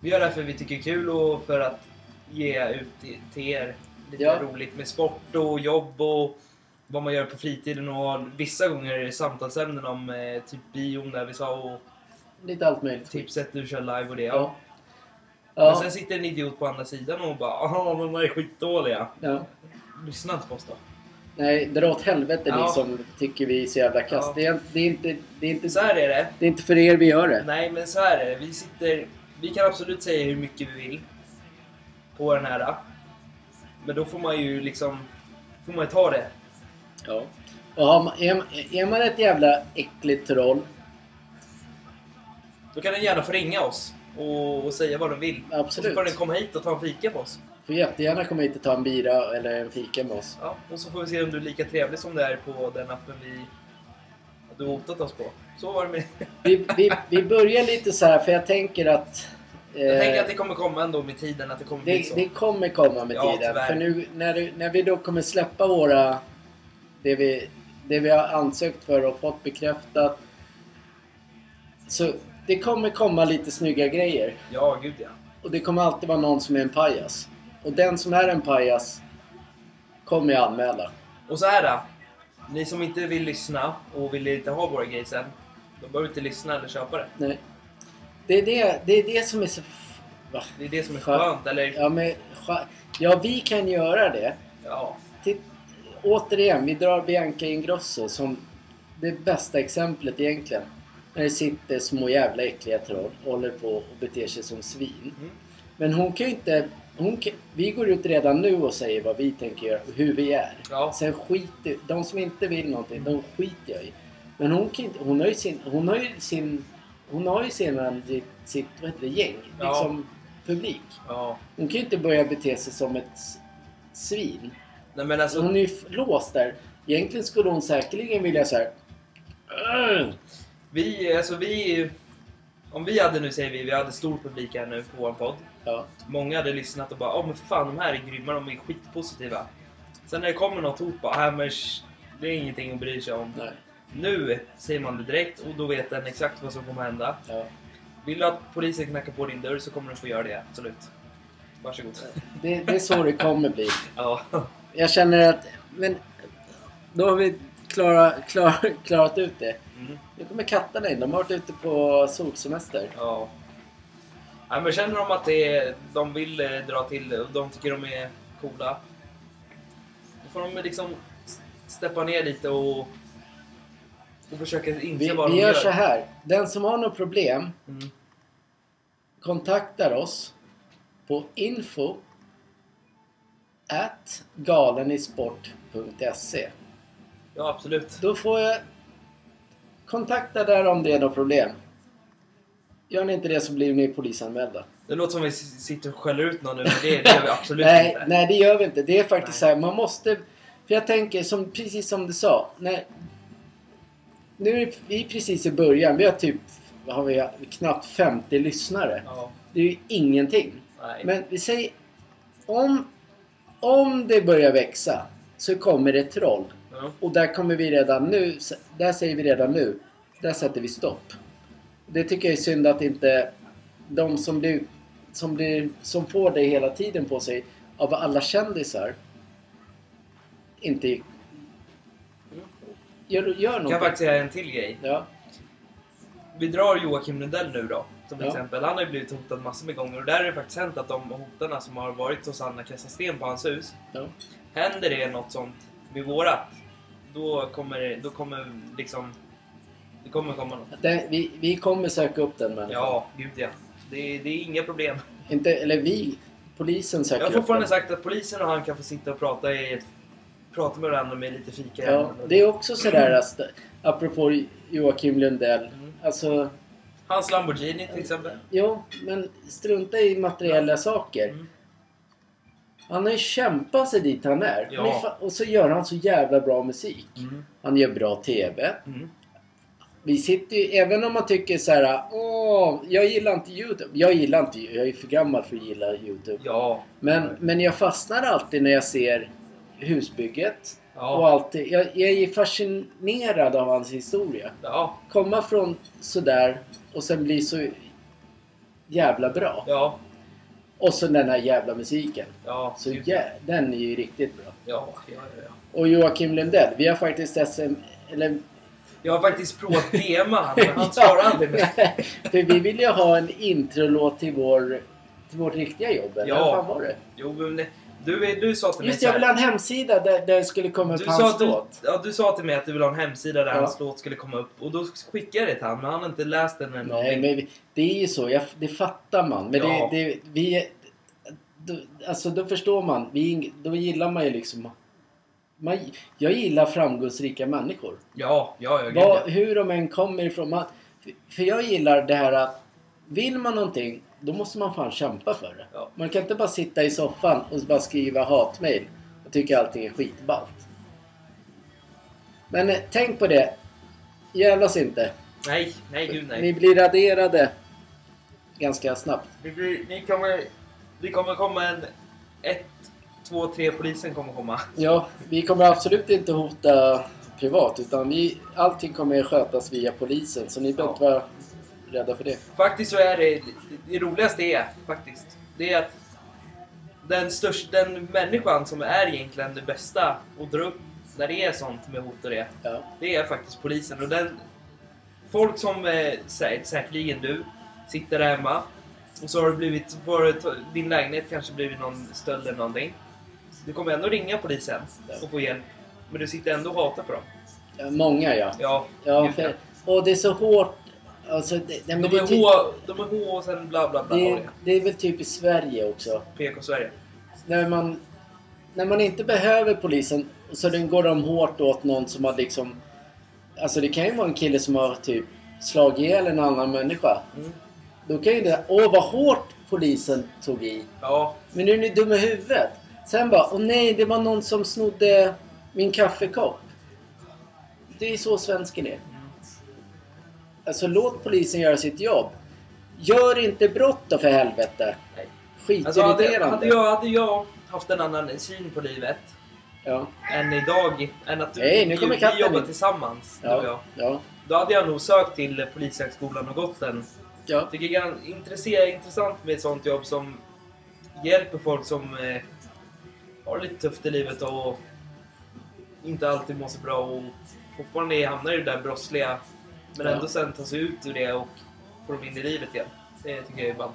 [SPEAKER 2] Vi gör det här för att vi tycker det är kul och för att ge ut i- till er lite
[SPEAKER 1] Ja.
[SPEAKER 2] roligt med sport och jobb och vad man gör på fritiden och vissa gånger är det samtalsämnen om eh, typ bion där vi sa och
[SPEAKER 1] Lite allt möjligt.
[SPEAKER 2] tipset du kör live och det.
[SPEAKER 1] Ja.
[SPEAKER 2] Typ. Men
[SPEAKER 1] Ja.
[SPEAKER 2] sen sitter en idiot på andra sidan och bara ja men de är skitdåliga.
[SPEAKER 1] ja.
[SPEAKER 2] Lyssna inte på oss då.
[SPEAKER 1] Nej, dra åt helvete ni
[SPEAKER 2] Ja.
[SPEAKER 1] som tycker vi är så jävla kass.
[SPEAKER 2] Ja.
[SPEAKER 1] Det, är, det, är inte, det, är inte,
[SPEAKER 2] Så här är det.
[SPEAKER 1] det är inte för er vi gör det.
[SPEAKER 2] Nej, men så här är det. Vi sitter... Vi kan absolut säga hur mycket vi vill på den här. Men då får man ju liksom... Får man ju ta det.
[SPEAKER 1] Ja. Och har man, är, är man ett jävla äckligt troll
[SPEAKER 2] Då kan den gärna få ringa oss och, och säga vad den vill. Och
[SPEAKER 1] Absolut.
[SPEAKER 2] så får den komma hit och ta en fika på oss.
[SPEAKER 1] Får jättegärna komma hit och ta en bira eller en fika med oss.
[SPEAKER 2] Ja, och så får vi se om du är lika trevlig som det är på den appen vi... Du har hotat oss på. Så var det med
[SPEAKER 1] Vi, vi, vi börjar lite så här för jag tänker att... eh,
[SPEAKER 2] Jag tänker att det kommer komma ändå med tiden, att det kommer bli
[SPEAKER 1] det,
[SPEAKER 2] så.
[SPEAKER 1] det kommer komma med
[SPEAKER 2] Ja,
[SPEAKER 1] tiden.
[SPEAKER 2] tyvärr.
[SPEAKER 1] För nu när, du- när vi då kommer släppa våra... Det vi, det vi har ansökt för och fått bekräftat. Så det kommer komma lite snygga grejer.
[SPEAKER 2] Ja, gud ja.
[SPEAKER 1] Och det kommer alltid vara någon som är en pajas. Och den som är en pajas kommer jag anmäla.
[SPEAKER 2] Och så här då. Ni som inte vill lyssna och vill inte ha våra grejer sen. Då behöver du inte lyssna eller köpa det.
[SPEAKER 1] Nej. Det är det, det, är det som är så... f- Va?
[SPEAKER 2] Det är det som är
[SPEAKER 1] Skönt.
[SPEAKER 2] skönt, eller?
[SPEAKER 1] Ja, men, scha- ja, vi kan göra det.
[SPEAKER 2] Ja.
[SPEAKER 1] Titt, återigen, vi drar Bianca Ingrosso som det bästa exemplet egentligen. När det sitter små jävla äckliga troll och håller på och beter sig som svin.
[SPEAKER 2] Mm.
[SPEAKER 1] Men hon kan ju inte... Hon kan, vi går ut redan nu och säger vad vi tänker göra och hur vi är.
[SPEAKER 2] Ja.
[SPEAKER 1] Sen skiter... De som inte vill någonting, de skiter jag i. Men hon kan inte... Hon har ju sin... Hon har ju sin... Hon har ju sin, sitt, vad heter det, gäng.
[SPEAKER 2] Ja.
[SPEAKER 1] Liksom publik.
[SPEAKER 2] ja.
[SPEAKER 1] Hon kan ju inte börja bete sig som ett s- svin.
[SPEAKER 2] Nej men
[SPEAKER 1] Så
[SPEAKER 2] alltså,
[SPEAKER 1] hon är ju f- låst där. Egentligen skulle hon säkerligen vilja så här. "Äh!" "Ugh."
[SPEAKER 2] vi, alltså vi... Om vi hade nu, säger vi, vi hade stor publik här nu på vår podd.
[SPEAKER 1] Ja,
[SPEAKER 2] Många hade lyssnat och bara åh men fan de här är grymma, de är skitpositiva. Sen när det kommer något hot bara, "Äh, men sh- det är ingenting att bry sig om.
[SPEAKER 1] nej.
[SPEAKER 2] Nu säger man det direkt och då vet den exakt vad som kommer hända.
[SPEAKER 1] Ja.
[SPEAKER 2] Vill du att polisen knackar på din dörr så kommer du få göra det, absolut. Varsågod.
[SPEAKER 1] Det, det är så det kommer bli.
[SPEAKER 2] Ja.
[SPEAKER 1] Jag känner att, men då har vi klara, klar, klarat ut det.
[SPEAKER 2] Mm.
[SPEAKER 1] Nu kommer katterna in. De har varit ute på solsemester.
[SPEAKER 2] Ja. Nej, men känner de att det är, de vill eh, dra till det och de tycker de är coola. Då får de liksom s- steppa ner lite och, och försöka inse
[SPEAKER 1] Vi,
[SPEAKER 2] vad
[SPEAKER 1] vi
[SPEAKER 2] de gör.
[SPEAKER 1] gör så här. Den som har något problem
[SPEAKER 2] Mm.
[SPEAKER 1] kontaktar oss på info at galenisport.se
[SPEAKER 2] Ja, absolut.
[SPEAKER 1] Då får jag kontakta där om det är något problem. Gör ni inte det så blir ni polisanmälda.
[SPEAKER 2] Det låter som vi s- sitter och skäller ut någon nu, men det, det gör vi absolut
[SPEAKER 1] Nej,
[SPEAKER 2] inte.
[SPEAKER 1] nej, det gör vi inte. Det är faktiskt
[SPEAKER 2] Nej.
[SPEAKER 1] så här, man måste... För jag tänker, som, precis som du sa. När, nu är vi precis i början. Vi har typ har vi knappt 50 lyssnare.
[SPEAKER 2] Ja,
[SPEAKER 1] Det är ju ingenting.
[SPEAKER 2] nej.
[SPEAKER 1] Men vi säger... Om, om det börjar växa så kommer det troll.
[SPEAKER 2] Ja.
[SPEAKER 1] Och där kommer vi redan nu, där säger vi redan nu, där sätter vi stopp. Det tycker jag är synd att inte de som blir, som blir, som får det hela tiden på sig av alla kändisar inte gör, gör
[SPEAKER 2] Kan jag
[SPEAKER 1] något.
[SPEAKER 2] faktiskt säga en till grej.
[SPEAKER 1] Ja,
[SPEAKER 2] Vi drar Joakim Lundell nu då. Som
[SPEAKER 1] Ja.
[SPEAKER 2] exempel. Han har ju blivit hotad massor med gånger. Och där har det faktiskt hänt att de hotarna som har varit hos Anna Kassasten på hans hus.
[SPEAKER 1] ja.
[SPEAKER 2] Händer det något sånt med vårat. Då kommer det, då kommer liksom... Det kommer komma något.
[SPEAKER 1] Det, vi, vi kommer söka upp den människan.
[SPEAKER 2] Ja, gud ja. Det, det är inga problem.
[SPEAKER 1] Inte, eller vi, polisen söker
[SPEAKER 2] Jag har fortfarande
[SPEAKER 1] upp den.
[SPEAKER 2] sagt att polisen och han kan få sitta och prata, i ett, prata med varandra med lite fika i
[SPEAKER 1] Ja,
[SPEAKER 2] handen.
[SPEAKER 1] det är också sådär, alltså, apropå Joakim Lundell.
[SPEAKER 2] Mm.
[SPEAKER 1] Alltså,
[SPEAKER 2] Hans Lamborghini till exempel.
[SPEAKER 1] jo, men strunta i materiella saker.
[SPEAKER 2] Mm.
[SPEAKER 1] Han har ju kämpat sig dit han är.
[SPEAKER 2] Ja.
[SPEAKER 1] Han är fa- och så gör han så jävla bra musik.
[SPEAKER 2] Mm.
[SPEAKER 1] Han gör bra TV.
[SPEAKER 2] Mm.
[SPEAKER 1] Vi sitter ju, även om man tycker så här, åh, jag gillar inte YouTube. Jag gillar inte, jag är för gammal för att gilla YouTube.
[SPEAKER 2] Ja.
[SPEAKER 1] Men, men jag fastnar alltid när jag ser husbygget. Och
[SPEAKER 2] Ja.
[SPEAKER 1] alltid, jag, jag är fascinerad av hans historia.
[SPEAKER 2] Ja.
[SPEAKER 1] Komma från sådär och sen bli så jävla bra.
[SPEAKER 2] Ja.
[SPEAKER 1] Och så den här jävla musiken.
[SPEAKER 2] Ja.
[SPEAKER 1] Så
[SPEAKER 2] Gud,
[SPEAKER 1] jä, den är ju riktigt bra.
[SPEAKER 2] Ja, ja, ja, ja.
[SPEAKER 1] Och Joakim Lundell, vi har faktiskt SM... Eller...
[SPEAKER 2] Jag har faktiskt provat DMa han, men han svarar aldrig mig.
[SPEAKER 1] För vi vill ju ha en introlåt till, vår, till vårt riktiga jobb, eller
[SPEAKER 2] Ja.
[SPEAKER 1] vad fan var det?
[SPEAKER 2] Jo, men det- du, är- du sa till mig
[SPEAKER 1] Just
[SPEAKER 2] så
[SPEAKER 1] jag
[SPEAKER 2] här-
[SPEAKER 1] vill ha en hemsida där, där det skulle komma
[SPEAKER 2] du
[SPEAKER 1] upp
[SPEAKER 2] sa,
[SPEAKER 1] hans
[SPEAKER 2] att du,
[SPEAKER 1] låt.
[SPEAKER 2] ja, du sa till mig att du ville ha en hemsida där
[SPEAKER 1] Ja.
[SPEAKER 2] hans låt skulle komma upp och då skickade jag det till honom men han har inte läst den än.
[SPEAKER 1] Nej, men vi- det är ju så. Jag, det fattar man. Men
[SPEAKER 2] Ja.
[SPEAKER 1] det, det, vi... Då, alltså, då förstår man. Vi, är ing- då gillar man ju liksom... Man, jag gillar framgångsrika människor.
[SPEAKER 2] Ja, ja, ja, gud,
[SPEAKER 1] Vad-
[SPEAKER 2] ja.
[SPEAKER 1] hur de än kommer ifrån. Man, för- för jag gillar det här att vill man någonting då måste man fan kämpa för det.
[SPEAKER 2] Ja.
[SPEAKER 1] Man kan inte bara sitta i soffan och bara skriva hatmejl och tycka allting är skitballt. Men eh, tänk på det. Jävlas inte.
[SPEAKER 2] Nej, nej, gud nej.
[SPEAKER 1] Ni blir raderade ganska snabbt.
[SPEAKER 2] Det blir, ni kommer, det kommer komma en... Ett, två, tre polisen kommer komma.
[SPEAKER 1] Ja, vi kommer absolut inte hota privat utan vi, allting kommer skötas via polisen så ni behöver inte vara rädda för det.
[SPEAKER 2] Faktiskt så är det... Det roligaste är faktiskt... Det är att den, största, den människan som är egentligen det bästa att dra upp när det är sånt med hot och det.
[SPEAKER 1] Ja.
[SPEAKER 2] Det är faktiskt polisen. Och den, folk som eh, sä, säkerligen du sitter där hemma och så har det blivit, var, din lägenhet kanske blivit någon stöld eller någonting. Du kommer ändå ringa polisen och få hjälp. Men du sitter ändå och hatar på dem.
[SPEAKER 1] Eh, Många ja.
[SPEAKER 2] Ja,
[SPEAKER 1] Ja,
[SPEAKER 2] gud,
[SPEAKER 1] för, och det är så hårt. Alltså, det, nej, men
[SPEAKER 2] De
[SPEAKER 1] det,
[SPEAKER 2] är,
[SPEAKER 1] ty-
[SPEAKER 2] H, de är H och sen bla bla bla. har
[SPEAKER 1] det, det är väl typ i Sverige också.
[SPEAKER 2] jag. PK Sverige.
[SPEAKER 1] När man, när man inte behöver polisen så den går de hårt åt någon som har liksom... Alltså det kan ju vara en kille som har typ slagit ihjäl en annan människa.
[SPEAKER 2] Mm.
[SPEAKER 1] Då kan ju det... Åh vad hårt polisen tog i.
[SPEAKER 2] Ja,
[SPEAKER 1] Men nu är ni dum i huvudet. Sen bara, åh nej det var någon som snodde min kaffekopp. Det är så svensken är. Alltså låt polisen göra sitt jobb. Gör inte brott då för helvete.
[SPEAKER 2] Nej. alltså hade,
[SPEAKER 1] Skitirriterande.
[SPEAKER 2] hade, jag, hade jag haft en annan syn på livet
[SPEAKER 1] Ja,
[SPEAKER 2] än idag, än att du,
[SPEAKER 1] Nej, nu kommer
[SPEAKER 2] vi, vi
[SPEAKER 1] katten
[SPEAKER 2] jobbar
[SPEAKER 1] in.
[SPEAKER 2] tillsammans, du och jag.
[SPEAKER 1] ja, ja.
[SPEAKER 2] Då hade jag nog sökt till Polishögskolan och gått den.
[SPEAKER 1] ja.
[SPEAKER 2] Jag tycker det är gan- intresse- intressant med ett sånt jobb som hjälper folk som eh, har det lite tufft i livet och inte alltid mår så bra och fortfarande hamnar i det där brottsliga. Men
[SPEAKER 1] Ja.
[SPEAKER 2] ändå sen tar sig ut ur det och får dem in i livet igen. Det tycker jag är ballt.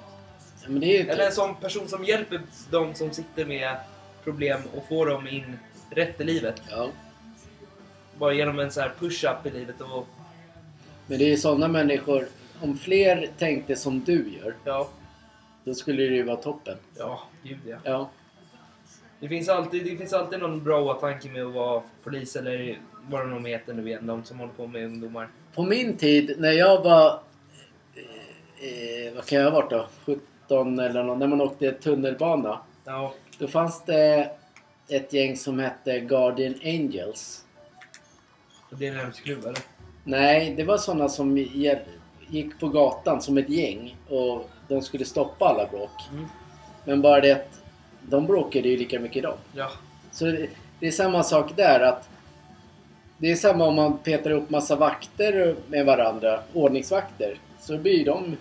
[SPEAKER 1] Men det är ju... typ-
[SPEAKER 2] Eller en sån person som hjälper de som sitter med problem och får dem in rätt i livet.
[SPEAKER 1] Ja.
[SPEAKER 2] Bara genom en så här push-up i livet och
[SPEAKER 1] Men det är sådana människor. Om fler tänkte som du gör,
[SPEAKER 2] ja,
[SPEAKER 1] då skulle det ju vara toppen.
[SPEAKER 2] ja, gud ja.
[SPEAKER 1] Ja.
[SPEAKER 2] Det finns, alltid, det finns alltid någon bra åtanke med att vara polis eller vad de nu heter nu igen, de som håller på med ungdomar.
[SPEAKER 1] På min tid, när jag var... Eh, eh, vad kan jag ha varit då? 17 eller något. När man åkte tunnelbana.
[SPEAKER 2] Ja,
[SPEAKER 1] Då fanns det ett gäng som hette Guardian Angels.
[SPEAKER 2] och det är en hemsk klubb eller?
[SPEAKER 1] Nej, det var sådana som ge- gick på gatan som ett gäng och de skulle stoppa alla bråk.
[SPEAKER 2] Mm.
[SPEAKER 1] Men bara det att de bråkade ju lika mycket de.
[SPEAKER 2] Ja.
[SPEAKER 1] Så det- det är samma sak där att det är samma om man petar upp massa vakter med varandra, ordningsvakter. Så blir ju de,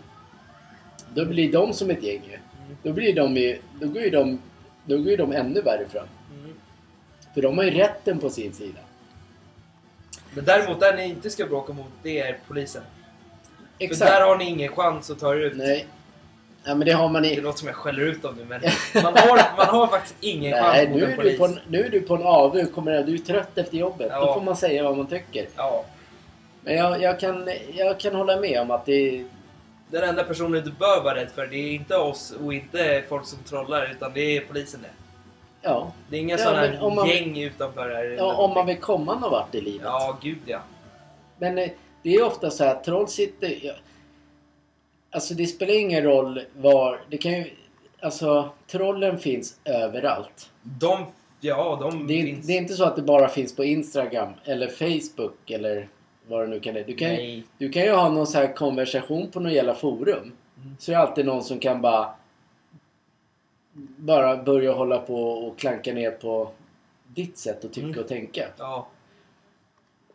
[SPEAKER 1] då blir de som ett gäng ju.
[SPEAKER 2] Mm.
[SPEAKER 1] Då blir de ju, då går ju de, då går ju de ännu värre fram.
[SPEAKER 2] Mm.
[SPEAKER 1] För de har ju rätten på sin sida.
[SPEAKER 2] Men däremot där ni inte ska bråka mot, det är polisen. För
[SPEAKER 1] Exakt.
[SPEAKER 2] där har ni ingen chans att ta er ut.
[SPEAKER 1] Nej. Ja, men det har man
[SPEAKER 2] Det
[SPEAKER 1] i...
[SPEAKER 2] låter som jag skäller ut dem nu men man har, man har faktiskt ingen
[SPEAKER 1] Nej,
[SPEAKER 2] chans mot
[SPEAKER 1] nu
[SPEAKER 2] en
[SPEAKER 1] är, du
[SPEAKER 2] polis.
[SPEAKER 1] på en, nu är du på en AW, kommer du är trött efter jobbet. Då
[SPEAKER 2] Ja.
[SPEAKER 1] får man säga vad man tycker.
[SPEAKER 2] Ja.
[SPEAKER 1] Men jag, jag, kan, jag kan hålla med om att det...
[SPEAKER 2] Den enda personen du bör vara rädd för det är inte oss och inte folk som trollar utan det är polisen det.
[SPEAKER 1] Ja,
[SPEAKER 2] Det är inga
[SPEAKER 1] Ja,
[SPEAKER 2] sådana
[SPEAKER 1] men om man-
[SPEAKER 2] gäng utanför här. eller
[SPEAKER 1] Ja, om
[SPEAKER 2] någonting.
[SPEAKER 1] man vill komma någon vart i livet.
[SPEAKER 2] Ja, gud ja.
[SPEAKER 1] Men eh, det är ofta så här att troll sitter... ja, Alltså det spelar ingen roll var... Det kan ju... Alltså trollen finns överallt.
[SPEAKER 2] De, ja, de
[SPEAKER 1] Det är,
[SPEAKER 2] finns.
[SPEAKER 1] det är inte så att det bara finns på Instagram eller Facebook eller vad det nu kan vara. Du kan, ju-
[SPEAKER 2] Nej.
[SPEAKER 1] du kan ju ha någon så här konversation på något jävla forum.
[SPEAKER 2] Mm.
[SPEAKER 1] Så är det alltid någon som kan bara... Bara börja hålla på och klanka ner på ditt sätt att tycka
[SPEAKER 2] Mm.
[SPEAKER 1] och tänka.
[SPEAKER 2] Ja.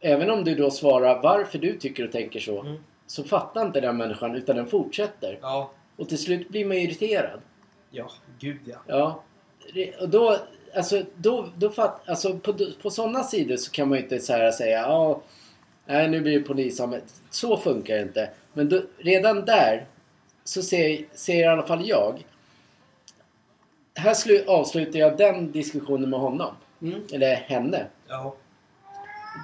[SPEAKER 1] Även om du då svarar varför du tycker och tänker så,
[SPEAKER 2] Mm.
[SPEAKER 1] så fattar inte den människan utan den fortsätter.
[SPEAKER 2] Ja.
[SPEAKER 1] Och till slut blir man irriterad.
[SPEAKER 2] Ja, gud ja.
[SPEAKER 1] Ja. Det- Och då, alltså, då, då fatt, alltså på, på sådana sidor så kan man ju inte så här säga ja, nej nu blir det polisanmälan. Så funkar det inte. Men då, redan där så ser, ser i alla fall jag. Här slu, avslutar jag den diskussionen med honom.
[SPEAKER 2] Mm.
[SPEAKER 1] Eller henne.
[SPEAKER 2] Ja.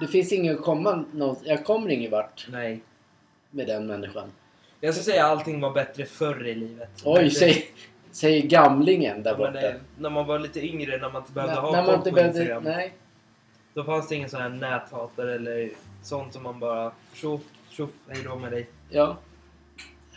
[SPEAKER 1] Det finns ingen komma, någon, jag kommer ingen vart
[SPEAKER 2] Nej.
[SPEAKER 1] med den människan.
[SPEAKER 2] Jag ska säga att allting var bättre förr i livet. Men
[SPEAKER 1] Oj,
[SPEAKER 2] det-
[SPEAKER 1] säg, säger gamlingen där
[SPEAKER 2] Ja, men
[SPEAKER 1] borta.
[SPEAKER 2] det- När man var lite yngre, när man inte behövde
[SPEAKER 1] När-
[SPEAKER 2] ha
[SPEAKER 1] när man
[SPEAKER 2] koll
[SPEAKER 1] inte
[SPEAKER 2] på
[SPEAKER 1] behövde-
[SPEAKER 2] Instagram.
[SPEAKER 1] Nej.
[SPEAKER 2] Då fanns det ingen sån här näthatare eller sånt som man bara tjoff, tjoff, hej då med dig.
[SPEAKER 1] Ja.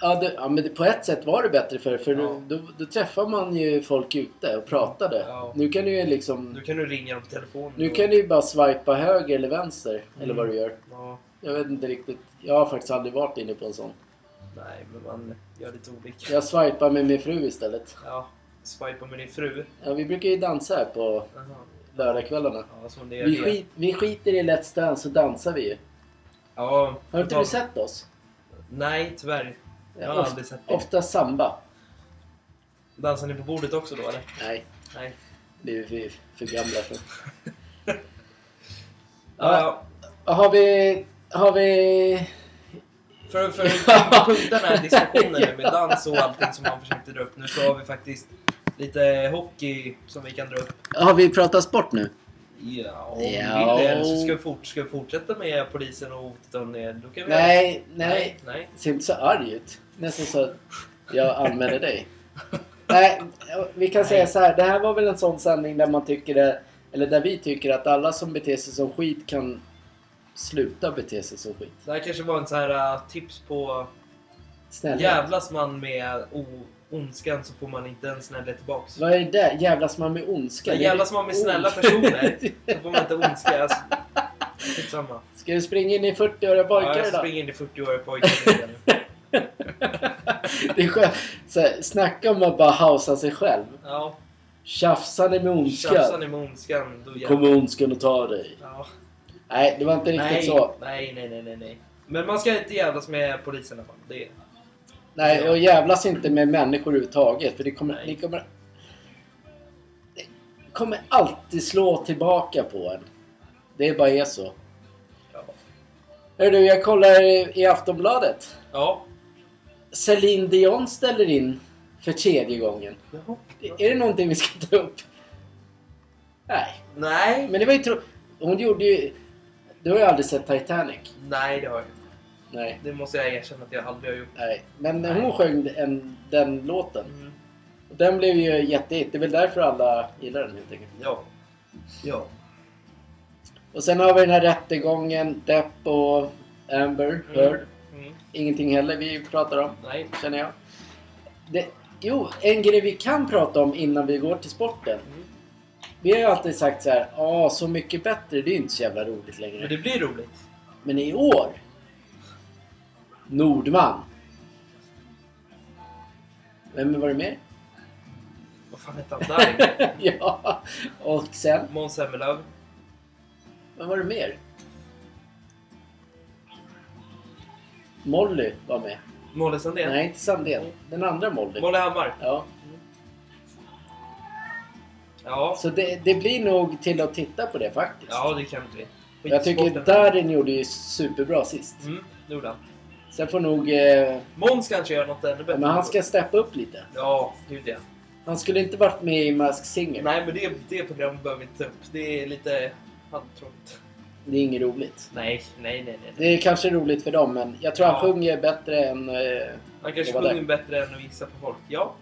[SPEAKER 1] Ja, det, ja, men det, på ett sätt var det bättre för för
[SPEAKER 2] Ja.
[SPEAKER 1] då, då, då träffar man ju folk ute och pratade.
[SPEAKER 2] Ja.
[SPEAKER 1] Nu kan du ju liksom...
[SPEAKER 2] Nu kan du ringa dem på telefonen.
[SPEAKER 1] Nu
[SPEAKER 2] och-
[SPEAKER 1] kan du ju bara swipa höger eller vänster, eller vad du
[SPEAKER 2] Mm.
[SPEAKER 1] gör.
[SPEAKER 2] Ja,
[SPEAKER 1] Jag vet inte riktigt. Jag har faktiskt aldrig varit inne på en sån.
[SPEAKER 2] nej, men man gör lite olika.
[SPEAKER 1] Jag swipar med min fru istället.
[SPEAKER 2] Ja, swipa med din fru.
[SPEAKER 1] Ja, vi brukar ju dansa här på
[SPEAKER 2] Jaha.
[SPEAKER 1] lördagskvällarna.
[SPEAKER 2] Ja, som det är.
[SPEAKER 1] Vi, skit, vi skiter i Let's Dance så dansar vi ju.
[SPEAKER 2] Ja,
[SPEAKER 1] Har inte
[SPEAKER 2] ja.
[SPEAKER 1] du sett oss?
[SPEAKER 2] Nej, tyvärr. Jag har
[SPEAKER 1] Of-
[SPEAKER 2] aldrig sett dig.
[SPEAKER 1] Ofta samba.
[SPEAKER 2] Dansar ni på bordet också då eller?
[SPEAKER 1] Nej,
[SPEAKER 2] Nej.
[SPEAKER 1] det är vi för gamla för.
[SPEAKER 2] Ja, ja.
[SPEAKER 1] Har vi... Har vi...
[SPEAKER 2] För, för att punkta den här diskussionen nu med dans och allting som han försökte dra upp nu så har vi faktiskt lite hockey som vi kan dra upp.
[SPEAKER 1] Har vi pratat sport nu?
[SPEAKER 2] Ja, om vi
[SPEAKER 1] Ja.
[SPEAKER 2] vill det. Eller så ska vi, fort, ska vi fortsätta med polisen och hotet om det. Då kan vi
[SPEAKER 1] Nej,
[SPEAKER 2] nej.
[SPEAKER 1] nej.
[SPEAKER 2] nej.
[SPEAKER 1] Ser inte så arg ut. Nästan så att jag anmäler dig. Nej, vi kan säga så här. Det här var väl en sån sändning där man tycker det, Eller där vi tycker att alla som beter sig som skit kan sluta bete sig som skit.
[SPEAKER 2] Det här kanske var en så här uh, tips på
[SPEAKER 1] Snälla.
[SPEAKER 2] jävlas man med o- ondskan så får man inte en snällhet tillbaks.
[SPEAKER 1] Vad är det där? Jävlas man med ondska?
[SPEAKER 2] Men jävlas man med snälla personer så får man inte ondska. Alltså, skitsamma.
[SPEAKER 1] Ska du springa in i 40-åriga
[SPEAKER 2] Ja,
[SPEAKER 1] pojkar
[SPEAKER 2] jag
[SPEAKER 1] idag?
[SPEAKER 2] springer in i 40-åriga pojkar igen.
[SPEAKER 1] Det är skönt. Så här, snacka om att bara hausa sig själv.
[SPEAKER 2] Ja,
[SPEAKER 1] Tjafsar ni med
[SPEAKER 2] tjafsar
[SPEAKER 1] ondska?
[SPEAKER 2] ni med ondskan då jävlar.
[SPEAKER 1] Kommer ondskan att ta dig?
[SPEAKER 2] Ja.
[SPEAKER 1] Nej, det var inte riktigt
[SPEAKER 2] Nej,
[SPEAKER 1] så.
[SPEAKER 2] nej, nej, nej, nej, nej. Men man ska inte jävlas med polisen i alla fall. Det,
[SPEAKER 1] Nej, och jävlas inte med människor överhuvudtaget. För det kommer,
[SPEAKER 2] Nej.
[SPEAKER 1] det kommer... Det kommer alltid slå tillbaka på en. Det bara är så.
[SPEAKER 2] ja.
[SPEAKER 1] Hör du, jag kollar i- i Aftonbladet.
[SPEAKER 2] ja.
[SPEAKER 1] Celine Dion ställer in för tredje gången.
[SPEAKER 2] Jaha.
[SPEAKER 1] Är det någonting vi ska ta upp? Nej,
[SPEAKER 2] Nej.
[SPEAKER 1] men det var ju tro... Hon gjorde ju... Du har ju aldrig sett Titanic.
[SPEAKER 2] Nej, det har jag inte.
[SPEAKER 1] Nej.
[SPEAKER 2] Det måste jag erkänna att jag aldrig har gjort.
[SPEAKER 1] Nej. Men
[SPEAKER 2] Nej.
[SPEAKER 1] hon sjöng en, den låten.
[SPEAKER 2] Mm.
[SPEAKER 1] Och Den blev ju jättehit. Det är väl därför alla gillar den helt enkelt.
[SPEAKER 2] Ja. Ja.
[SPEAKER 1] Och sen har vi den här rättegången, Depp och Amber Heard.
[SPEAKER 2] Mm.
[SPEAKER 1] Ingenting heller vi pratar om,
[SPEAKER 2] Nej.
[SPEAKER 1] känner jag. Det, jo, en grej vi kan prata om innan vi går till sporten.
[SPEAKER 2] Mm.
[SPEAKER 1] Vi har ju alltid sagt så här, ja så mycket bättre, det är ju inte så jävla roligt
[SPEAKER 2] Men
[SPEAKER 1] längre.
[SPEAKER 2] det blir roligt.
[SPEAKER 1] Men i år! Nordman! Vem var det mer?
[SPEAKER 2] Vad fan hette han där?
[SPEAKER 1] ja, och sen?
[SPEAKER 2] Måns Zelmerlöw.
[SPEAKER 1] Vem var det mer? Molly var med.
[SPEAKER 2] Molly Sandén.
[SPEAKER 1] Nej, inte Sandén. Den andra Molly.
[SPEAKER 2] Molly Hammar.
[SPEAKER 1] Ja.
[SPEAKER 2] Ja.
[SPEAKER 1] Så det, det blir nog till att titta på det faktiskt.
[SPEAKER 2] Ja, det kan det bli.
[SPEAKER 1] Jag tycker Darin gjorde ju superbra sist.
[SPEAKER 2] Mm, det gjorde han.
[SPEAKER 1] Sen får nog... Eh,
[SPEAKER 2] Måns kanske gör något ännu bättre.
[SPEAKER 1] men han ska steppa upp lite.
[SPEAKER 2] Ja, gud ja.
[SPEAKER 1] Han skulle inte varit med i Mask Singer.
[SPEAKER 2] Nej, men det, det programmet behöver vi inte ta upp. Det är lite handtrångt.
[SPEAKER 1] Det är inget roligt.
[SPEAKER 2] Nej, nej, nej. nej.
[SPEAKER 1] Det är kanske roligt för dem, men jag tror han
[SPEAKER 2] Ja.
[SPEAKER 1] sjunger bättre än... Eh...
[SPEAKER 2] Han kanske
[SPEAKER 1] Det var
[SPEAKER 2] sjunger bättre än att visa på folk. Ja.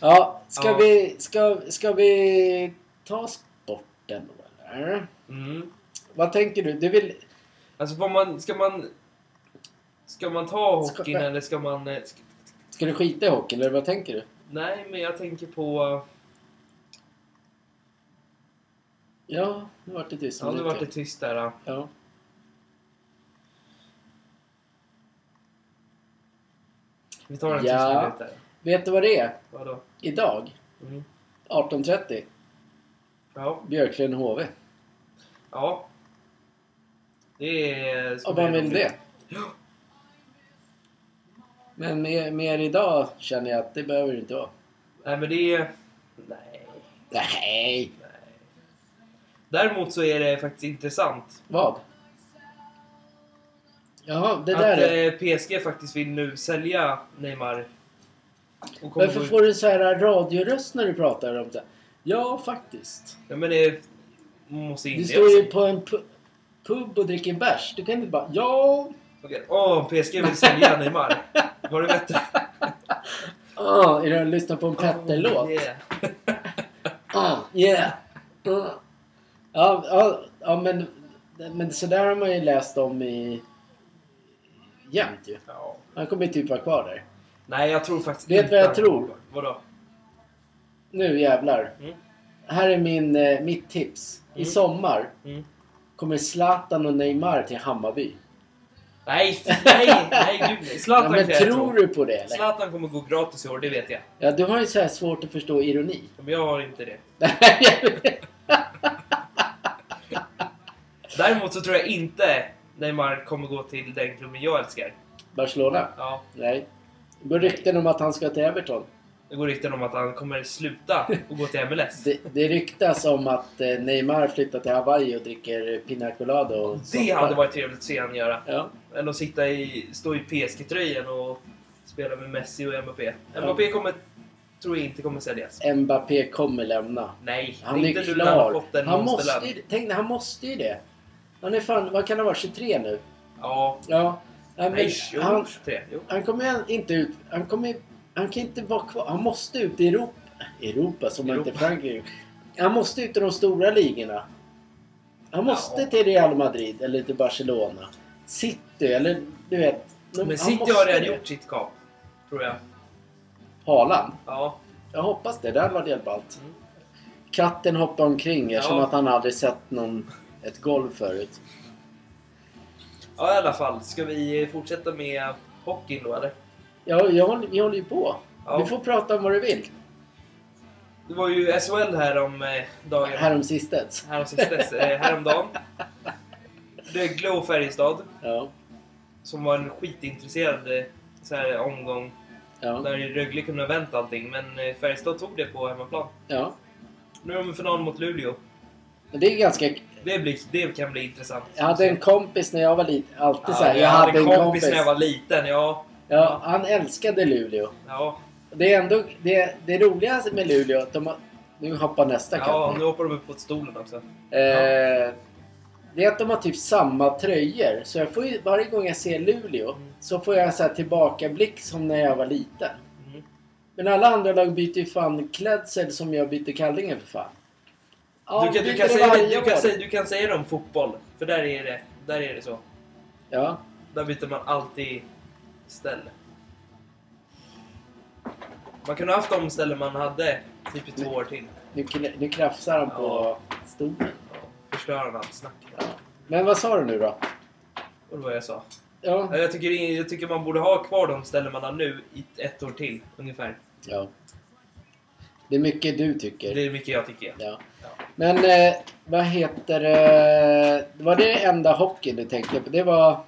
[SPEAKER 1] ja, ska,
[SPEAKER 2] Ja.
[SPEAKER 1] Vi, ska, ska vi ta sporten då, eller?
[SPEAKER 2] Mm.
[SPEAKER 1] Vad tänker du? Du vill...
[SPEAKER 2] Alltså, vad man, ska man... Ska man ta
[SPEAKER 1] Ska-
[SPEAKER 2] hockeyn eller ska man... eh, Ska,
[SPEAKER 1] Ska du skita i hockey, eller vad tänker du?
[SPEAKER 2] nej, men jag tänker på...
[SPEAKER 1] Ja, nu vart det tyst.
[SPEAKER 2] Ja, nu vart det tyst där. ja.
[SPEAKER 1] Ja.
[SPEAKER 2] Vi tar en
[SPEAKER 1] Ja.
[SPEAKER 2] tyst minut där.
[SPEAKER 1] Vet du vad det är?
[SPEAKER 2] Vadå?
[SPEAKER 1] Idag,
[SPEAKER 2] Mm.
[SPEAKER 1] 18.30,
[SPEAKER 2] Ja.
[SPEAKER 1] Björklund-HV.
[SPEAKER 2] Ja. Det är... ska
[SPEAKER 1] Och
[SPEAKER 2] bli
[SPEAKER 1] vem vill
[SPEAKER 2] roligt.
[SPEAKER 1] det?
[SPEAKER 2] Ja.
[SPEAKER 1] Men mer, mer idag känner jag att det behöver det inte vara.
[SPEAKER 2] Nej, men det är... Nej.
[SPEAKER 1] Nej!
[SPEAKER 2] nej. Däremot så är det faktiskt intressant
[SPEAKER 1] Vad? Ja, det
[SPEAKER 2] att
[SPEAKER 1] där är...
[SPEAKER 2] eh, PSG faktiskt vill nu sälja Neymar. Och kommer
[SPEAKER 1] Varför
[SPEAKER 2] gå ut-
[SPEAKER 1] får du så här radioröst när du pratar om det? Ja, faktiskt.
[SPEAKER 2] Ja, men det måste in
[SPEAKER 1] Du
[SPEAKER 2] det
[SPEAKER 1] står ju
[SPEAKER 2] också.
[SPEAKER 1] på en pu- pub och dricker bärs. Du kan inte bara ja...
[SPEAKER 2] Okej. Åh, PSG vill sälja Neymar. Var det bättre?
[SPEAKER 1] Ah, är det att lyssna på en Petter-låt?
[SPEAKER 2] Oh, yeah.
[SPEAKER 1] Ah, yeah. Ah. Ja, ja, ja men, men sådär har man ju läst om i... Jämt ju.
[SPEAKER 2] ja.
[SPEAKER 1] Han kommer ju typ vara kvar där.
[SPEAKER 2] Nej, jag tror faktiskt
[SPEAKER 1] Vet
[SPEAKER 2] inte
[SPEAKER 1] vad jag
[SPEAKER 2] han
[SPEAKER 1] tror?
[SPEAKER 2] kommer. Vadå?
[SPEAKER 1] Nu jävlar.
[SPEAKER 2] Mm.
[SPEAKER 1] Här är min, eh, mitt tips. I
[SPEAKER 2] Mm.
[SPEAKER 1] sommar
[SPEAKER 2] Mm.
[SPEAKER 1] kommer Zlatan och Neymar till Hammarby.
[SPEAKER 2] Nej, nej, nej, gud. nej.
[SPEAKER 1] Ja,
[SPEAKER 2] Zlatan
[SPEAKER 1] men
[SPEAKER 2] kan jag tro.
[SPEAKER 1] tror du på det eller?
[SPEAKER 2] Zlatan kommer gå gratis i år, det vet jag.
[SPEAKER 1] Ja, du har ju så här svårt att förstå ironi.
[SPEAKER 2] Men jag har inte det. Däremot så tror jag inte Neymar kommer gå till den klubben jag älskar.
[SPEAKER 1] Barcelona?
[SPEAKER 2] Ja,
[SPEAKER 1] Nej. Det går rykten om att han ska till Everton.
[SPEAKER 2] det går rykten om att han kommer sluta och gå till MLS.
[SPEAKER 1] Det, det ryktas om att eh, Neymar flyttar till Hawaii och dricker eh, Pina Colada och
[SPEAKER 2] Det
[SPEAKER 1] sånt
[SPEAKER 2] hade
[SPEAKER 1] där.
[SPEAKER 2] varit trevligt att se han göra.
[SPEAKER 1] Ja.
[SPEAKER 2] Än att sitta i, stå i PSG-tröjan och spela med Messi och Mbappé.
[SPEAKER 1] Ja.
[SPEAKER 2] Mbappé kommer, tror jag inte kommer säljas.
[SPEAKER 1] Mbappé kommer lämna.
[SPEAKER 2] Nej,
[SPEAKER 1] Han
[SPEAKER 2] inte
[SPEAKER 1] är
[SPEAKER 2] nu när han har
[SPEAKER 1] klar.
[SPEAKER 2] fått en
[SPEAKER 1] Han
[SPEAKER 2] monsterlön.
[SPEAKER 1] måste, ju- tänk, dig, han måste ju det. Han är fan, vad kan han vara, 23 nu?
[SPEAKER 2] Ja,
[SPEAKER 1] Ja. Ja, men
[SPEAKER 2] nej, jo,
[SPEAKER 1] han,
[SPEAKER 2] 23. Jo.
[SPEAKER 1] han kommer ju inte ut. Han kommer Han kan inte vara kvar. Han måste ut i Europa. Europa som
[SPEAKER 2] Europa.
[SPEAKER 1] inte Frankrike. Han måste ut i de stora ligorna. Han måste
[SPEAKER 2] Ja.
[SPEAKER 1] till Real Madrid eller till Barcelona. City eller du vet. de- han
[SPEAKER 2] Men City
[SPEAKER 1] måste
[SPEAKER 2] har redan
[SPEAKER 1] det.
[SPEAKER 2] gjort sitt kap, tror jag.
[SPEAKER 1] Haaland.
[SPEAKER 2] Ja,
[SPEAKER 1] Jag hoppas det. Det hade varit helt ballt.
[SPEAKER 2] Mm.
[SPEAKER 1] Katten hoppade omkring eftersom
[SPEAKER 2] Ja.
[SPEAKER 1] att han aldrig sett någon, ett golv förut.
[SPEAKER 2] ja i alla fall. Ska vi fortsätta med hockeyn då, eller?
[SPEAKER 1] Ja, jag, håller- vi håller ju på.
[SPEAKER 2] Ja.
[SPEAKER 1] Du får prata om vad du vill.
[SPEAKER 2] Det var ju SHL här om eh, dagen.
[SPEAKER 1] Härom sistens.
[SPEAKER 2] häromsistens, eh, häromdagen. Rögle och Färjestad,
[SPEAKER 1] Ja.
[SPEAKER 2] som var en skitintresserad eh, så här, omgång.
[SPEAKER 1] Ja.
[SPEAKER 2] Där Rögle kunde ha vänt allting, men eh, Färjestad tog det på hemmaplan.
[SPEAKER 1] ja.
[SPEAKER 2] Nu är de i final mot Luleå.
[SPEAKER 1] Men det är ganska
[SPEAKER 2] Det, blir, det kan bli intressant.
[SPEAKER 1] Jag hade en kompis när jag var liten. Alltid
[SPEAKER 2] Ja,
[SPEAKER 1] så här, jag hade en kompis.
[SPEAKER 2] när jag var liten, ja.
[SPEAKER 1] ja, han älskade Luleå.
[SPEAKER 2] Ja,
[SPEAKER 1] Det är ändå det, det roligaste med Luleå är att de har, Nu hoppar nästa
[SPEAKER 2] ja
[SPEAKER 1] katt.
[SPEAKER 2] nu hoppar de upp på stolen också.
[SPEAKER 1] Eh, det är att de har typ samma tröjor. Så jag får ju, varje gång jag ser Luleå
[SPEAKER 2] Mm.
[SPEAKER 1] så får jag en så här tillbakablick som när jag var liten.
[SPEAKER 2] Mm.
[SPEAKER 1] Men alla andra lag byter ju fan klädsel som jag byter kallingar för fan. Ja,
[SPEAKER 2] du, kan, du,
[SPEAKER 1] byter
[SPEAKER 2] kan
[SPEAKER 1] det
[SPEAKER 2] säga,
[SPEAKER 1] varje
[SPEAKER 2] du, kan
[SPEAKER 1] år.
[SPEAKER 2] säga, du kan säga det om fotboll, för där är det, där är det så.
[SPEAKER 1] Ja,
[SPEAKER 2] Där byter man alltid ställe. Man kunde ha haft de ställen man hade typ i två år till.
[SPEAKER 1] nu, kn- nu krafsar han på
[SPEAKER 2] Ja.
[SPEAKER 1] stolen.
[SPEAKER 2] Förstöra allt snack.
[SPEAKER 1] Ja. Men vad sa du nu då?
[SPEAKER 2] Och det var jag sa.
[SPEAKER 1] Ja.
[SPEAKER 2] Ja, Jag tycker, jag tycker man borde ha kvar de ställen man har nu i ett år till ungefär.
[SPEAKER 1] Ja. Det är mycket du tycker.
[SPEAKER 2] Det är mycket jag tycker.
[SPEAKER 1] Ja.
[SPEAKER 2] Ja.
[SPEAKER 1] Men eh, vad heter eh, det? var det enda hockeyn du tänkte på? Det var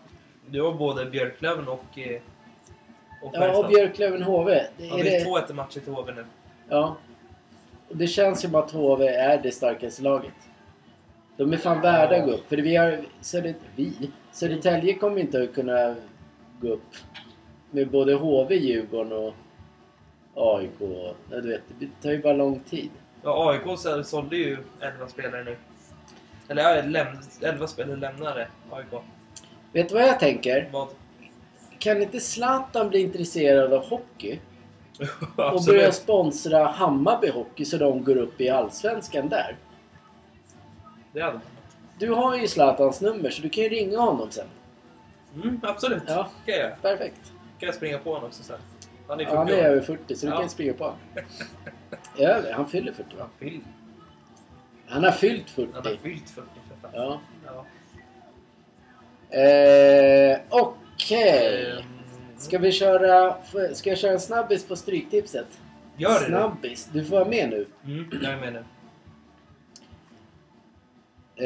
[SPEAKER 2] Du har både Björklöven och... eh, Och
[SPEAKER 1] ja, och
[SPEAKER 2] Färjestad.
[SPEAKER 1] Björklöven HV. Det,
[SPEAKER 2] Ja,
[SPEAKER 1] är
[SPEAKER 2] det är
[SPEAKER 1] det,
[SPEAKER 2] två ett matcher till HV nu.
[SPEAKER 1] ja. Och det känns som att HV är det starkaste laget. De är fan värda att gå upp. För vi har... Södert, vi? Södertälje kommer inte att kunna gå upp med både HV, Djurgården och AIK. Ja, du vet, det tar ju bara lång tid.
[SPEAKER 2] Ja, AIK så- sålde ju 11 spelare nu. Eller ja, läm- 11 spelare lämnade AIK.
[SPEAKER 1] Vet du vad jag tänker?
[SPEAKER 2] Vad?
[SPEAKER 1] Kan inte Zlatan bli intresserad av hockey? Och börja
[SPEAKER 2] Absolut.
[SPEAKER 1] sponsra Hammarby Hockey så de går upp i Allsvenskan där?
[SPEAKER 2] Det hade man.
[SPEAKER 1] Du har ju Zlatans nummer så du kan ju ringa honom sen.
[SPEAKER 2] Mm, absolut.
[SPEAKER 1] Ja.
[SPEAKER 2] kan jag göra.
[SPEAKER 1] Perfekt.
[SPEAKER 2] kan jag springa på honom också sen. Han är
[SPEAKER 1] Ja, han är
[SPEAKER 2] 40 år.
[SPEAKER 1] över 40 så du
[SPEAKER 2] Ja.
[SPEAKER 1] kan ju springa på honom. Över? Han fyller 40 va?
[SPEAKER 2] Han fyll-
[SPEAKER 1] Han har fyllt
[SPEAKER 2] han har
[SPEAKER 1] 40.
[SPEAKER 2] fyllt 40 för fan.
[SPEAKER 1] Ja.
[SPEAKER 2] Ja.
[SPEAKER 1] Eh, Okej.
[SPEAKER 2] Ehm,
[SPEAKER 1] Ska vi köra... f- Ska jag köra en snabbis på Stryktipset?
[SPEAKER 2] Gör det då.
[SPEAKER 1] Snabbis. Du får vara med nu.
[SPEAKER 2] Mm, jag är med nu.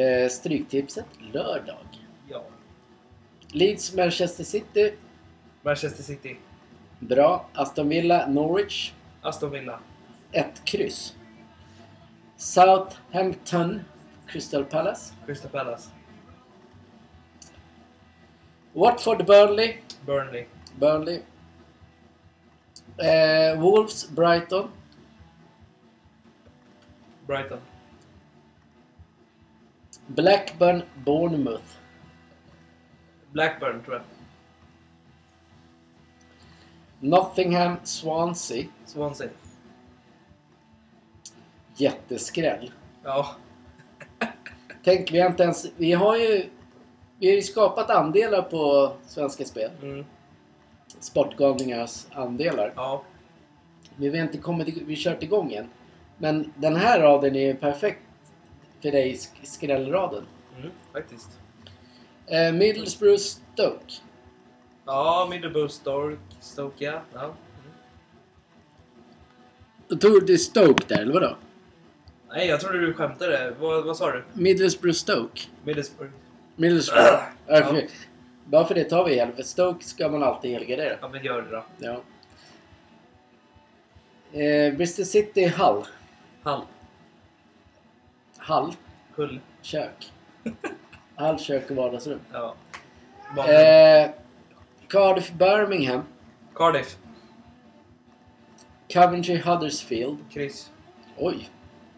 [SPEAKER 1] Eh, stryktipset lördag.
[SPEAKER 2] Ja.
[SPEAKER 1] Leeds Manchester City.
[SPEAKER 2] Manchester City.
[SPEAKER 1] Bra. Aston Villa Norwich.
[SPEAKER 2] Aston Villa.
[SPEAKER 1] Ett kryss. Southampton Crystal Palace.
[SPEAKER 2] Crystal Palace.
[SPEAKER 1] Watford Burnley.
[SPEAKER 2] Burnley.
[SPEAKER 1] Burnley. Eh, Wolves Brighton.
[SPEAKER 2] Brighton.
[SPEAKER 1] Blackburn Bournemouth.
[SPEAKER 2] Blackburn tror jag.
[SPEAKER 1] Nottingham Swansea.
[SPEAKER 2] Swansea.
[SPEAKER 1] Jätteskräll.
[SPEAKER 2] Ja.
[SPEAKER 1] Tänk, vi har inte ens... Vi har ju... Vi har ju skapat andelar på Svenska Spel.
[SPEAKER 2] Mm.
[SPEAKER 1] Sportgalningars andelar.
[SPEAKER 2] Ja.
[SPEAKER 1] Men vi har inte kommit... ig- Vi har kört igång än. Men den här raden är ju perfekt för dig, sk- skrällraden.
[SPEAKER 2] Mm, faktiskt.
[SPEAKER 1] Eh, Middlesbrough Stoke.
[SPEAKER 2] Ja, Middleborough Stork. Stoke, ja. ja. Mm.
[SPEAKER 1] Då tog du Stoke där, eller vadå?
[SPEAKER 2] Nej, jag trodde du skämtade. Vad, vad sa du?
[SPEAKER 1] Middlesbrough Stoke.
[SPEAKER 2] Middlesbrough.
[SPEAKER 1] Middlesbrough.
[SPEAKER 2] Ja.
[SPEAKER 1] Okej. Bara för det tar vi helvete. Stoke ska man alltid helgardera.
[SPEAKER 2] Ja, men gör det då.
[SPEAKER 1] Ja. Eh, Bristol City Hull.
[SPEAKER 2] Hall.
[SPEAKER 1] Hall.
[SPEAKER 2] Hull.
[SPEAKER 1] Kök. Hall, kök och vardagsrum.
[SPEAKER 2] Ja. Barn.
[SPEAKER 1] Eh, Cardiff Birmingham.
[SPEAKER 2] Cardiff.
[SPEAKER 1] Coventry Huddersfield.
[SPEAKER 2] Kryss.
[SPEAKER 1] Oj!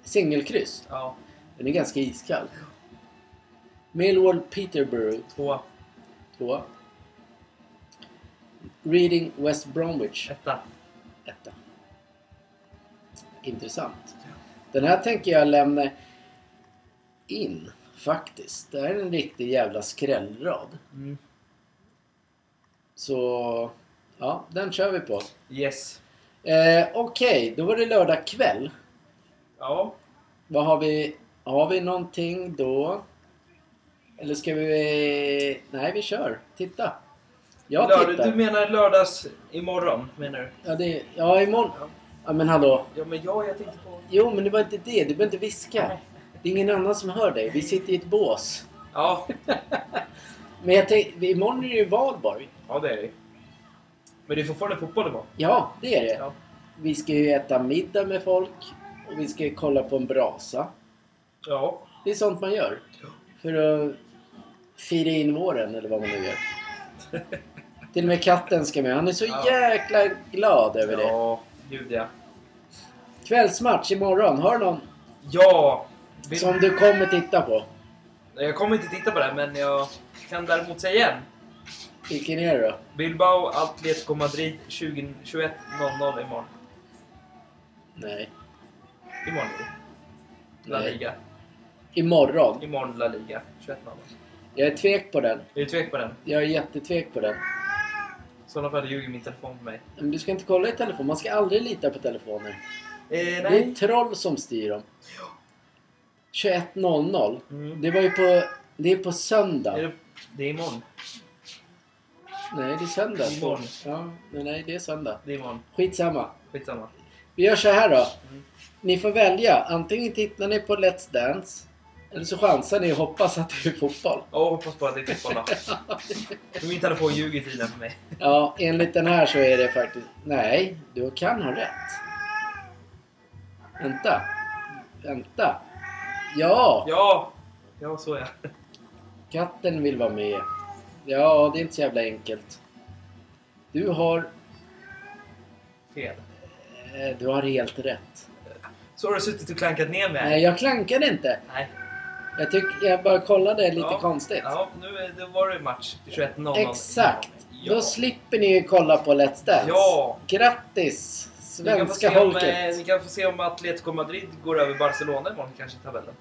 [SPEAKER 1] Singelkryss.
[SPEAKER 2] Ja.
[SPEAKER 1] Den är ganska iskall. Millwall Peterborough.
[SPEAKER 2] Tvåa.
[SPEAKER 1] Tvåa. Reading West Bromwich.
[SPEAKER 2] Etta.
[SPEAKER 1] Etta. Intressant. Den här tänker jag lämna in faktiskt. Det här är en riktig jävla skrällrad.
[SPEAKER 2] Mm.
[SPEAKER 1] Så ja, den kör vi på.
[SPEAKER 2] Yes.
[SPEAKER 1] Eh, Okej, då var det lördag kväll.
[SPEAKER 2] Ja.
[SPEAKER 1] Vad har vi? Har vi någonting då? Eller ska vi... Nej, vi kör. Titta. Jag
[SPEAKER 2] Lördag-
[SPEAKER 1] tittar.
[SPEAKER 2] Du menar lördags imorgon, menar du?
[SPEAKER 1] Ja, det... ja, imorgon.
[SPEAKER 2] Ja.
[SPEAKER 1] Ja, men hallå.
[SPEAKER 2] Ja, men ja, jag tänkte på...
[SPEAKER 1] Jo, men det var inte det. Du behöver inte viska.
[SPEAKER 2] Nej.
[SPEAKER 1] Det är ingen annan som hör dig. Vi sitter i ett bås.
[SPEAKER 2] Ja.
[SPEAKER 1] Men jag tänkte, imorgon är det ju valborg.
[SPEAKER 2] Ja, det är det Men det är fortfarande fotboll imorgon.
[SPEAKER 1] Ja, det är det.
[SPEAKER 2] Ja.
[SPEAKER 1] Vi ska ju äta middag med folk och vi ska kolla på en brasa.
[SPEAKER 2] Ja.
[SPEAKER 1] Det är sånt man gör. För att fira in våren eller vad man nu gör. Till och med katten ska med. Han är så
[SPEAKER 2] Ja.
[SPEAKER 1] jäkla glad över det.
[SPEAKER 2] Ja, gud ja.
[SPEAKER 1] Kvällsmatch imorgon. Har du någon
[SPEAKER 2] Ja! Vill...
[SPEAKER 1] som du kommer titta på?
[SPEAKER 2] Jag kommer inte titta på det, men jag kan däremot säga en.
[SPEAKER 1] Vilken är det då?
[SPEAKER 2] Bilbao, Atletico Madrid 20 21.00 imorgon.
[SPEAKER 1] Nej.
[SPEAKER 2] Imorgon är det. La
[SPEAKER 1] Nej.
[SPEAKER 2] Liga.
[SPEAKER 1] Imorgon.
[SPEAKER 2] Imorgon La Liga. 21.00.
[SPEAKER 1] Jag är tvek på den.
[SPEAKER 2] Är du tvek på den?
[SPEAKER 1] Jag är jättetvek på den.
[SPEAKER 2] I sådana fall ljuger min telefon på mig.
[SPEAKER 1] Men du ska inte kolla i telefon. Man ska aldrig lita på telefoner.
[SPEAKER 2] Eh,
[SPEAKER 1] Det är
[SPEAKER 2] nej.
[SPEAKER 1] troll som styr dem. 21.00.
[SPEAKER 2] Mm.
[SPEAKER 1] Det var ju på... Det är på söndag.
[SPEAKER 2] Är det... det är imorgon.
[SPEAKER 1] Nej, det är söndag.
[SPEAKER 2] Imorgon.
[SPEAKER 1] Ja, men nej, det är söndag.
[SPEAKER 2] Det är imorgon.
[SPEAKER 1] Skitsamma.
[SPEAKER 2] Skitsamma.
[SPEAKER 1] Vi gör så här då.
[SPEAKER 2] Mm.
[SPEAKER 1] Ni får välja. Antingen tittar ni på Let's Dance. Eller så chansar ni och hoppas att det är fotboll.
[SPEAKER 2] Ja, hoppas på att det är typ fotboll då. För min telefon ljuger tydligen för mig.
[SPEAKER 1] Ja, enligt den här så är det faktiskt... Nej, du kan ha rätt. Vänta. Vänta. Ja!
[SPEAKER 2] Ja! Ja, så ja.
[SPEAKER 1] Katten vill vara med. Ja, det är inte så jävla enkelt. Du har...
[SPEAKER 2] Fel.
[SPEAKER 1] eh, Du har helt rätt.
[SPEAKER 2] Så har du suttit och klankat ner mig.
[SPEAKER 1] Nej, jag klankade inte.
[SPEAKER 2] Nej.
[SPEAKER 1] Jag, tyck, jag bara kollade lite
[SPEAKER 2] Ja.
[SPEAKER 1] konstigt.
[SPEAKER 2] Ja, nu är- det var det match. 21-0.
[SPEAKER 1] Exakt.
[SPEAKER 2] Ja.
[SPEAKER 1] Då slipper ni ju kolla på Let's Dance.
[SPEAKER 2] Ja.
[SPEAKER 1] Grattis,
[SPEAKER 2] Ni kan få
[SPEAKER 1] svenska
[SPEAKER 2] se om,
[SPEAKER 1] folket.
[SPEAKER 2] eh, Ni kan få se om Atletico Madrid går över Barcelona imorgon kanske i tabellen.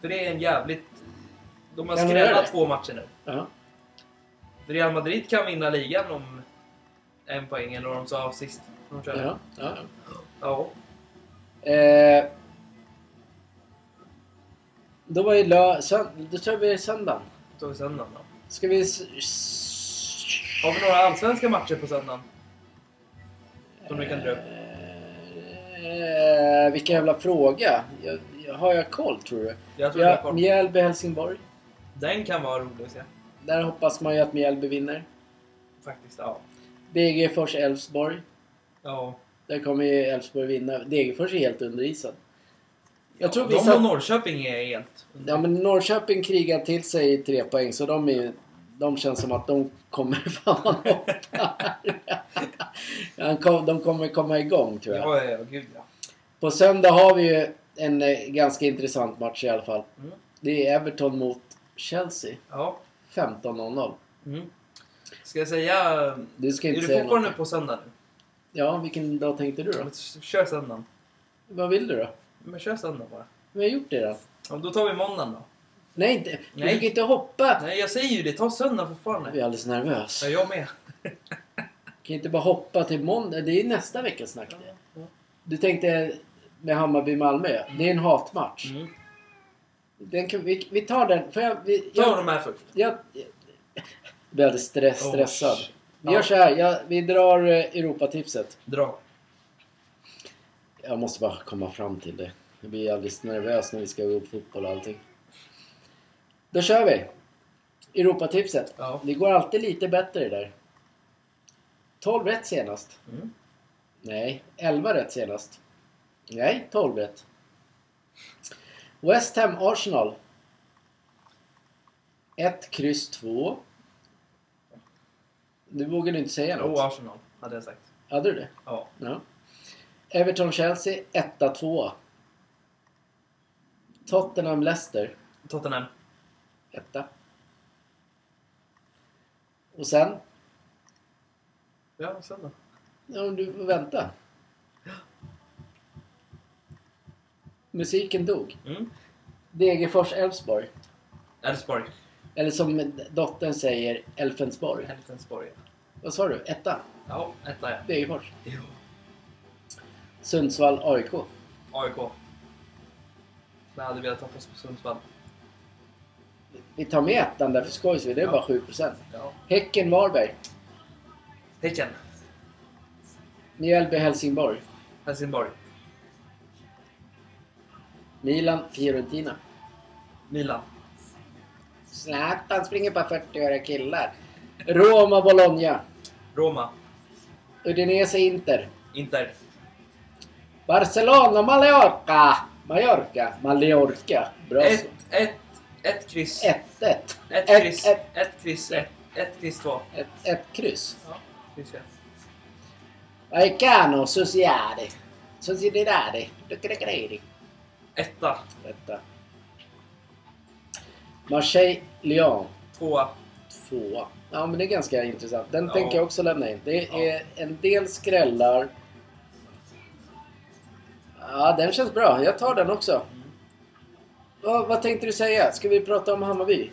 [SPEAKER 2] För det är en jävligt... De har
[SPEAKER 1] Kan de göra
[SPEAKER 2] skrällat
[SPEAKER 1] det?
[SPEAKER 2] två matcher nu.
[SPEAKER 1] Ja.
[SPEAKER 2] Real Madrid kan vinna ligan om en poäng, eller vad de sa sist. De körde.
[SPEAKER 1] Ja, ja.
[SPEAKER 2] ja.
[SPEAKER 1] Eh, då var ju lö... Sönd- då tar vi söndagen.
[SPEAKER 2] Då tar vi söndagen då.
[SPEAKER 1] Ska vi... s- s-
[SPEAKER 2] Har vi några allsvenska matcher på söndagen? Som vi kan dra upp?
[SPEAKER 1] Eh, vilken jävla fråga. Jag, jag, har jag koll tror du?
[SPEAKER 2] Jag tror det är
[SPEAKER 1] Ja,
[SPEAKER 2] kort.
[SPEAKER 1] Mjällby-Helsingborg.
[SPEAKER 2] Den kan vara rolig att se.
[SPEAKER 1] Där hoppas man ju att Mjällby vinner.
[SPEAKER 2] Faktiskt, ja.
[SPEAKER 1] Degerfors-Elfsborg.
[SPEAKER 2] ja.
[SPEAKER 1] Där kommer ju Elfsborg vinna. Degerfors är helt under isen. Jag tror vi
[SPEAKER 2] de
[SPEAKER 1] satt-
[SPEAKER 2] och Norrköping är helt...
[SPEAKER 1] Ja men Norrköping krigar till sig i tre poäng så de är ju- De känns som att de kommer fan vad de hoppar. Han kom- De kommer komma igång tror jag.
[SPEAKER 2] Ja, ja, ja, gud ja.
[SPEAKER 1] På söndag har vi ju en eh, ganska intressant match i alla fall.
[SPEAKER 2] Mm.
[SPEAKER 1] Det är Everton mot Chelsea.
[SPEAKER 2] ja.
[SPEAKER 1] 15.00.
[SPEAKER 2] Mm. Ska jag säga...
[SPEAKER 1] Du ska
[SPEAKER 2] Är
[SPEAKER 1] inte
[SPEAKER 2] du
[SPEAKER 1] säga
[SPEAKER 2] fortfarande
[SPEAKER 1] något.
[SPEAKER 2] på söndag nu?
[SPEAKER 1] Ja, vilken dag tänkte du
[SPEAKER 2] Ja,
[SPEAKER 1] då?
[SPEAKER 2] men s- Kör söndagen.
[SPEAKER 1] Vad vill du då?
[SPEAKER 2] Men kör söndag bara.
[SPEAKER 1] Vi har gjort det då.
[SPEAKER 2] Ja, men då tar vi måndagen då.
[SPEAKER 1] Nej, inte. du
[SPEAKER 2] Nej.
[SPEAKER 1] fick inte hoppa!
[SPEAKER 2] Nej, jag säger ju det. Ta söndag
[SPEAKER 1] Jag
[SPEAKER 2] fortfarande.
[SPEAKER 1] blir alldeles nervös.
[SPEAKER 2] Ja, jag med.
[SPEAKER 1] Kan inte bara hoppa till måndag. Det är ju nästa veckas snack det.
[SPEAKER 2] Ja.
[SPEAKER 1] Du tänkte med Hammarby-Malmö. Det är en hatmatch.
[SPEAKER 2] Mm.
[SPEAKER 1] Den kan, vi, vi tar den. Får jag, vi,
[SPEAKER 2] Ta
[SPEAKER 1] jag,
[SPEAKER 2] de här först.
[SPEAKER 1] jag, jag blir alldeles stress,
[SPEAKER 2] Oh,
[SPEAKER 1] stressad.
[SPEAKER 2] shit.
[SPEAKER 1] Vi gör så här. Jag, vi drar eh, Europatipset.
[SPEAKER 2] Dra.
[SPEAKER 1] Jag måste bara komma fram till det. Jag blir alldeles nervös när vi ska gå upp fotboll och allting. Då kör vi! Europatipset.
[SPEAKER 2] Ja.
[SPEAKER 1] Det går alltid lite bättre där. 12 rätt senast.
[SPEAKER 2] Mm.
[SPEAKER 1] Nej, 11 rätt senast. Nej, 12 rätt. West Ham Arsenal. 1, kryss 2. Du vågade inte säga
[SPEAKER 2] Jo,
[SPEAKER 1] något.
[SPEAKER 2] Arsenal hade jag sagt.
[SPEAKER 1] Hade du det?
[SPEAKER 2] Ja.
[SPEAKER 1] Ja. Everton-Chelsea 1-2. Tottenham-Leicester
[SPEAKER 2] Tottenham.
[SPEAKER 1] 1. Och sen?
[SPEAKER 2] Ja, söndag.
[SPEAKER 1] Ja, men du får vänta. Musiken dog.
[SPEAKER 2] Mm.
[SPEAKER 1] Degerfors-Elfsborg.
[SPEAKER 2] Elfsborg.
[SPEAKER 1] Eller som dottern säger, Elfensborg.
[SPEAKER 2] Elfsborg.
[SPEAKER 1] Vad sa du? Etta?
[SPEAKER 2] Ja, etta ja.
[SPEAKER 1] Degerfors.
[SPEAKER 2] Jo.
[SPEAKER 1] Sundsvall-AIK.
[SPEAKER 2] AIK. Jag hade velat hoppas på Sundsvall.
[SPEAKER 1] Vi tar med ettan där för skojs skull. Det är
[SPEAKER 2] Ja.
[SPEAKER 1] bara 7%.
[SPEAKER 2] Ja.
[SPEAKER 1] Häcken-Varberg.
[SPEAKER 2] Häcken.
[SPEAKER 1] Mjällby-Helsingborg.
[SPEAKER 2] Helsingborg.
[SPEAKER 1] Milan-Fiorentina.
[SPEAKER 2] Milan.
[SPEAKER 1] Zlatan springer på 40-åriga killar. Roma-Bologna.
[SPEAKER 2] Roma.
[SPEAKER 1] Udinese-Inter.
[SPEAKER 2] Inter.
[SPEAKER 1] Barcelona, Mallorca! Mallorca, Mallorca. Bra så.
[SPEAKER 2] Ett, ett, ett kryss.
[SPEAKER 1] 1-1.
[SPEAKER 2] Ett
[SPEAKER 1] Ett-
[SPEAKER 2] kryss.
[SPEAKER 1] ett-
[SPEAKER 2] Ett kryss. Ett, ett kryss två.
[SPEAKER 1] Ett, ett kryss.
[SPEAKER 2] Ja, kryss ett.
[SPEAKER 1] Vaicano, Sociedad. Sociedad. Duckedecredi.
[SPEAKER 2] Etta.
[SPEAKER 1] Detta. Marseille, Lyon.
[SPEAKER 2] Tvåa.
[SPEAKER 1] Tvåa. Ja, men det är ganska intressant. Den
[SPEAKER 2] Ja.
[SPEAKER 1] tänker jag också lämna in. Det
[SPEAKER 2] Ja.
[SPEAKER 1] är en del skrällar. Ja, den känns bra. Jag tar den också. Vad, vad tänkte du säga? Ska vi prata om Hammarby?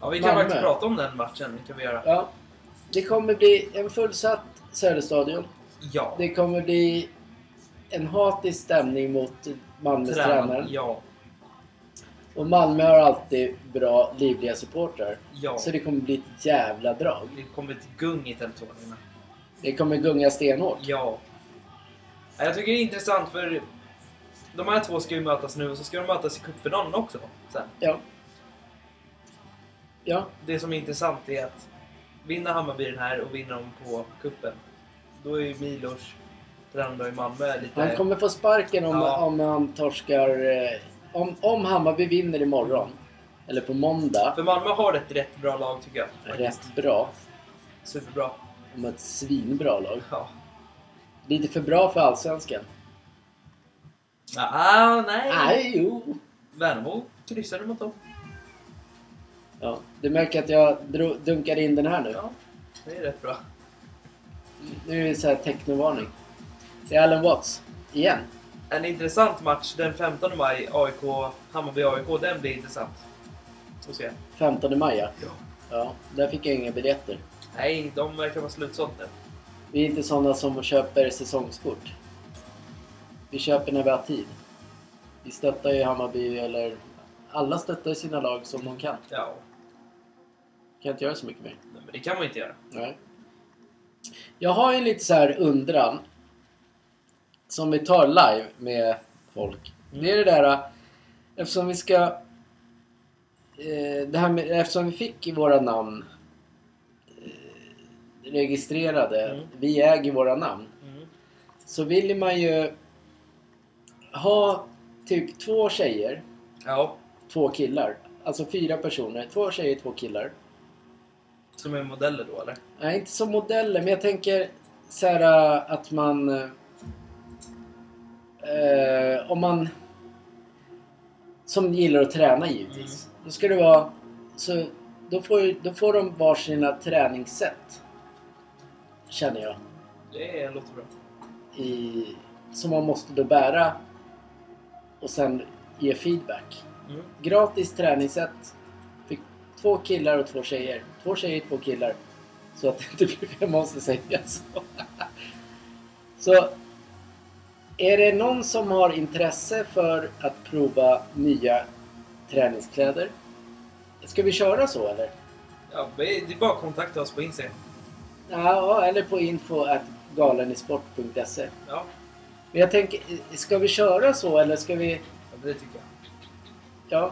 [SPEAKER 2] Ja, vi kan
[SPEAKER 1] Malmö.
[SPEAKER 2] faktiskt prata om den matchen. Det kan vi göra.
[SPEAKER 1] Ja. Det kommer bli en fullsatt Söderstadion.
[SPEAKER 2] Ja.
[SPEAKER 1] Det kommer bli en hatisk stämning mot Malmös tränare.
[SPEAKER 2] Ja.
[SPEAKER 1] Och Malmö har alltid bra, livliga supportrar.
[SPEAKER 2] Ja.
[SPEAKER 1] Så det kommer bli ett jävla drag.
[SPEAKER 2] Det kommer ett gung i Tele2-arenan.
[SPEAKER 1] Det kommer gunga stenhårt.
[SPEAKER 2] Ja. Ja, Jag tycker det är intressant för de här två ska ju mötas nu och så ska de mötas i cupfinalen också. Sen.
[SPEAKER 1] Ja. Ja,
[SPEAKER 2] Det som är intressant är att vinner Hammarby den här och vinner de på kuppen då är ju Milos tränare i Malmö lite...
[SPEAKER 1] han kommer få sparken om,
[SPEAKER 2] Ja.
[SPEAKER 1] om han torskar eh, om, om Hammarby vinner imorgon, eller på måndag,
[SPEAKER 2] För Malmö har ett rätt bra lag tycker jag. faktiskt.
[SPEAKER 1] rätt bra,
[SPEAKER 2] Superbra.
[SPEAKER 1] om ett svinbra lag.
[SPEAKER 2] Ja.
[SPEAKER 1] Lite för bra för Allsvenskan.
[SPEAKER 2] Ah, nej.
[SPEAKER 1] Nej, jo.
[SPEAKER 2] Värnamo kryssade mot dem.
[SPEAKER 1] Ja, du märker att jag dro- dunkar in den här nu.
[SPEAKER 2] Ja, det är rätt bra.
[SPEAKER 1] Nu är det så här technovarning. Det är Alan Watts. Igen.
[SPEAKER 2] En intressant match den 15 maj, AIK, Hammarby-AIK, den blir intressant. Får se.
[SPEAKER 1] 15 maj ja.
[SPEAKER 2] Ja.
[SPEAKER 1] ja. Där fick jag inga biljetter.
[SPEAKER 2] Nej, de verkar vara slutsålt nu.
[SPEAKER 1] Vi är inte sådana som köper säsongskort. Vi köper när vi har tid. Vi stöttar ju Hammarby eller... Alla stöttar sina lag som de kan.
[SPEAKER 2] Ja,
[SPEAKER 1] Kan inte göra så mycket mer.
[SPEAKER 2] men det kan man ju inte göra.
[SPEAKER 1] Nej. Jag har ju lite så här undran. Som vi tar live med folk. Det är det där äh, eftersom vi ska... eh, Det här med, eftersom vi fick våra namn eh, registrerade.
[SPEAKER 2] Mm.
[SPEAKER 1] Vi äger våra namn.
[SPEAKER 2] Mm.
[SPEAKER 1] Så vill man ju ha typ två tjejer,
[SPEAKER 2] Ja,
[SPEAKER 1] två killar. Alltså fyra personer. Två tjejer, två killar.
[SPEAKER 2] som är modeller då eller?
[SPEAKER 1] Nej, inte som modeller, men jag tänker så här äh, att man... eh, om man... Som gillar att träna givetvis. Då ska det vara... Så, då, får, ju- då får de var sina träningssätt. Känner jag.
[SPEAKER 2] Det låter bra.
[SPEAKER 1] I, som man måste då bära. Och sen ge feedback.
[SPEAKER 2] Mm.
[SPEAKER 1] Gratis träningssätt. Fick två killar och två tjejer. Två tjejer, två killar. Så att det inte blir jag måste säga så. Så är det någon som har intresse för att prova nya träningskläder? Ska vi köra så eller?
[SPEAKER 2] Ja, det är det är bara att kontakta oss på Instagram.
[SPEAKER 1] Ja, eller på info at galenisport.se.
[SPEAKER 2] Ja,
[SPEAKER 1] Men jag tänker, ska vi köra så eller ska vi...
[SPEAKER 2] ja, det tycker jag.
[SPEAKER 1] Ja.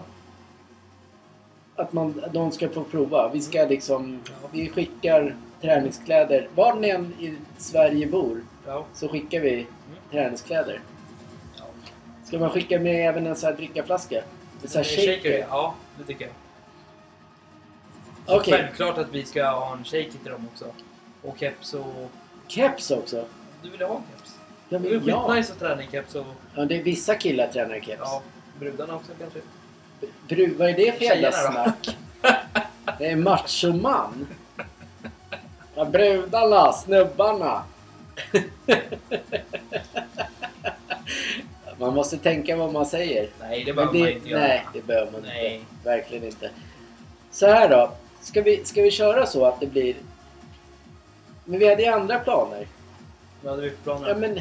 [SPEAKER 1] Att man, att de ska få prova. Vi
[SPEAKER 2] Mm.
[SPEAKER 1] ska liksom... Vi skickar träningskläder. Var ni än i Sverige bor
[SPEAKER 2] Ja,
[SPEAKER 1] så skickar vi
[SPEAKER 2] Mm.
[SPEAKER 1] träningskläder.
[SPEAKER 2] ja.
[SPEAKER 1] Ska man skicka med även en sån här drickaflaska? En sån här
[SPEAKER 2] Eh,
[SPEAKER 1] shaker?
[SPEAKER 2] Ja, det tycker jag.
[SPEAKER 1] Okej.
[SPEAKER 2] Självklart att vi ska ha en shaker till dem också. Och keps och...
[SPEAKER 1] Keps också?
[SPEAKER 2] Du ville ha en keps?
[SPEAKER 1] Ja,
[SPEAKER 2] Det är
[SPEAKER 1] men ja.
[SPEAKER 2] skitnice att träna i keps och...
[SPEAKER 1] ja det är vissa killar tränar i keps.
[SPEAKER 2] Ja, brudarna också kanske.
[SPEAKER 1] Bru, vad är det för jävla
[SPEAKER 2] Tjejerna då?
[SPEAKER 1] snack? Det är machoman. Ja, brudarna, snubbarna. Man måste tänka vad man säger.
[SPEAKER 2] Nej, det
[SPEAKER 1] Men
[SPEAKER 2] behöver man
[SPEAKER 1] det,
[SPEAKER 2] inte göra.
[SPEAKER 1] nej, det behöver man
[SPEAKER 2] Nej.
[SPEAKER 1] inte. Verkligen inte. Så här då. Ska vi, ska vi köra så att det blir... Men vi hade ju andra planer.
[SPEAKER 2] Vad hade vi för planer?
[SPEAKER 1] Ja, men,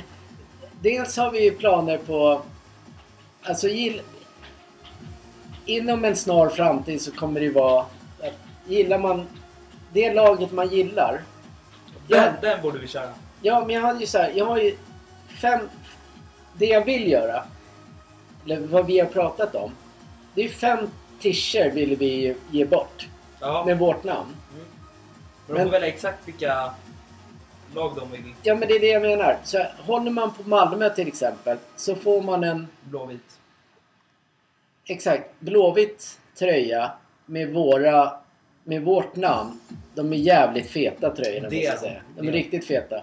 [SPEAKER 1] dels har vi ju planer på... Alltså gill, Inom en snar framtid så kommer det ju vara... att Gillar man det laget man gillar.
[SPEAKER 2] den, den borde vi köra.
[SPEAKER 1] Ja, men jag hade ju så här, Jag har ju fem... Det jag vill göra. Eller vad vi har pratat om. Det är fem tischer vill vi ju ge bort.
[SPEAKER 2] Ja. Men,
[SPEAKER 1] Med vårt namn.
[SPEAKER 2] mm. men de
[SPEAKER 1] men-
[SPEAKER 2] får välja exakt vilka lag de vill.
[SPEAKER 1] Ja, men det är det jag menar. Så här, håller man på Malmö till exempel så får man en
[SPEAKER 2] Blåvit.
[SPEAKER 1] Exakt. Blåvitt tröja med våra... Med vårt namn. De är jävligt feta tröjorna
[SPEAKER 2] Det
[SPEAKER 1] måste jag
[SPEAKER 2] är de.
[SPEAKER 1] säga. De
[SPEAKER 2] Det
[SPEAKER 1] är
[SPEAKER 2] är de.
[SPEAKER 1] riktigt feta.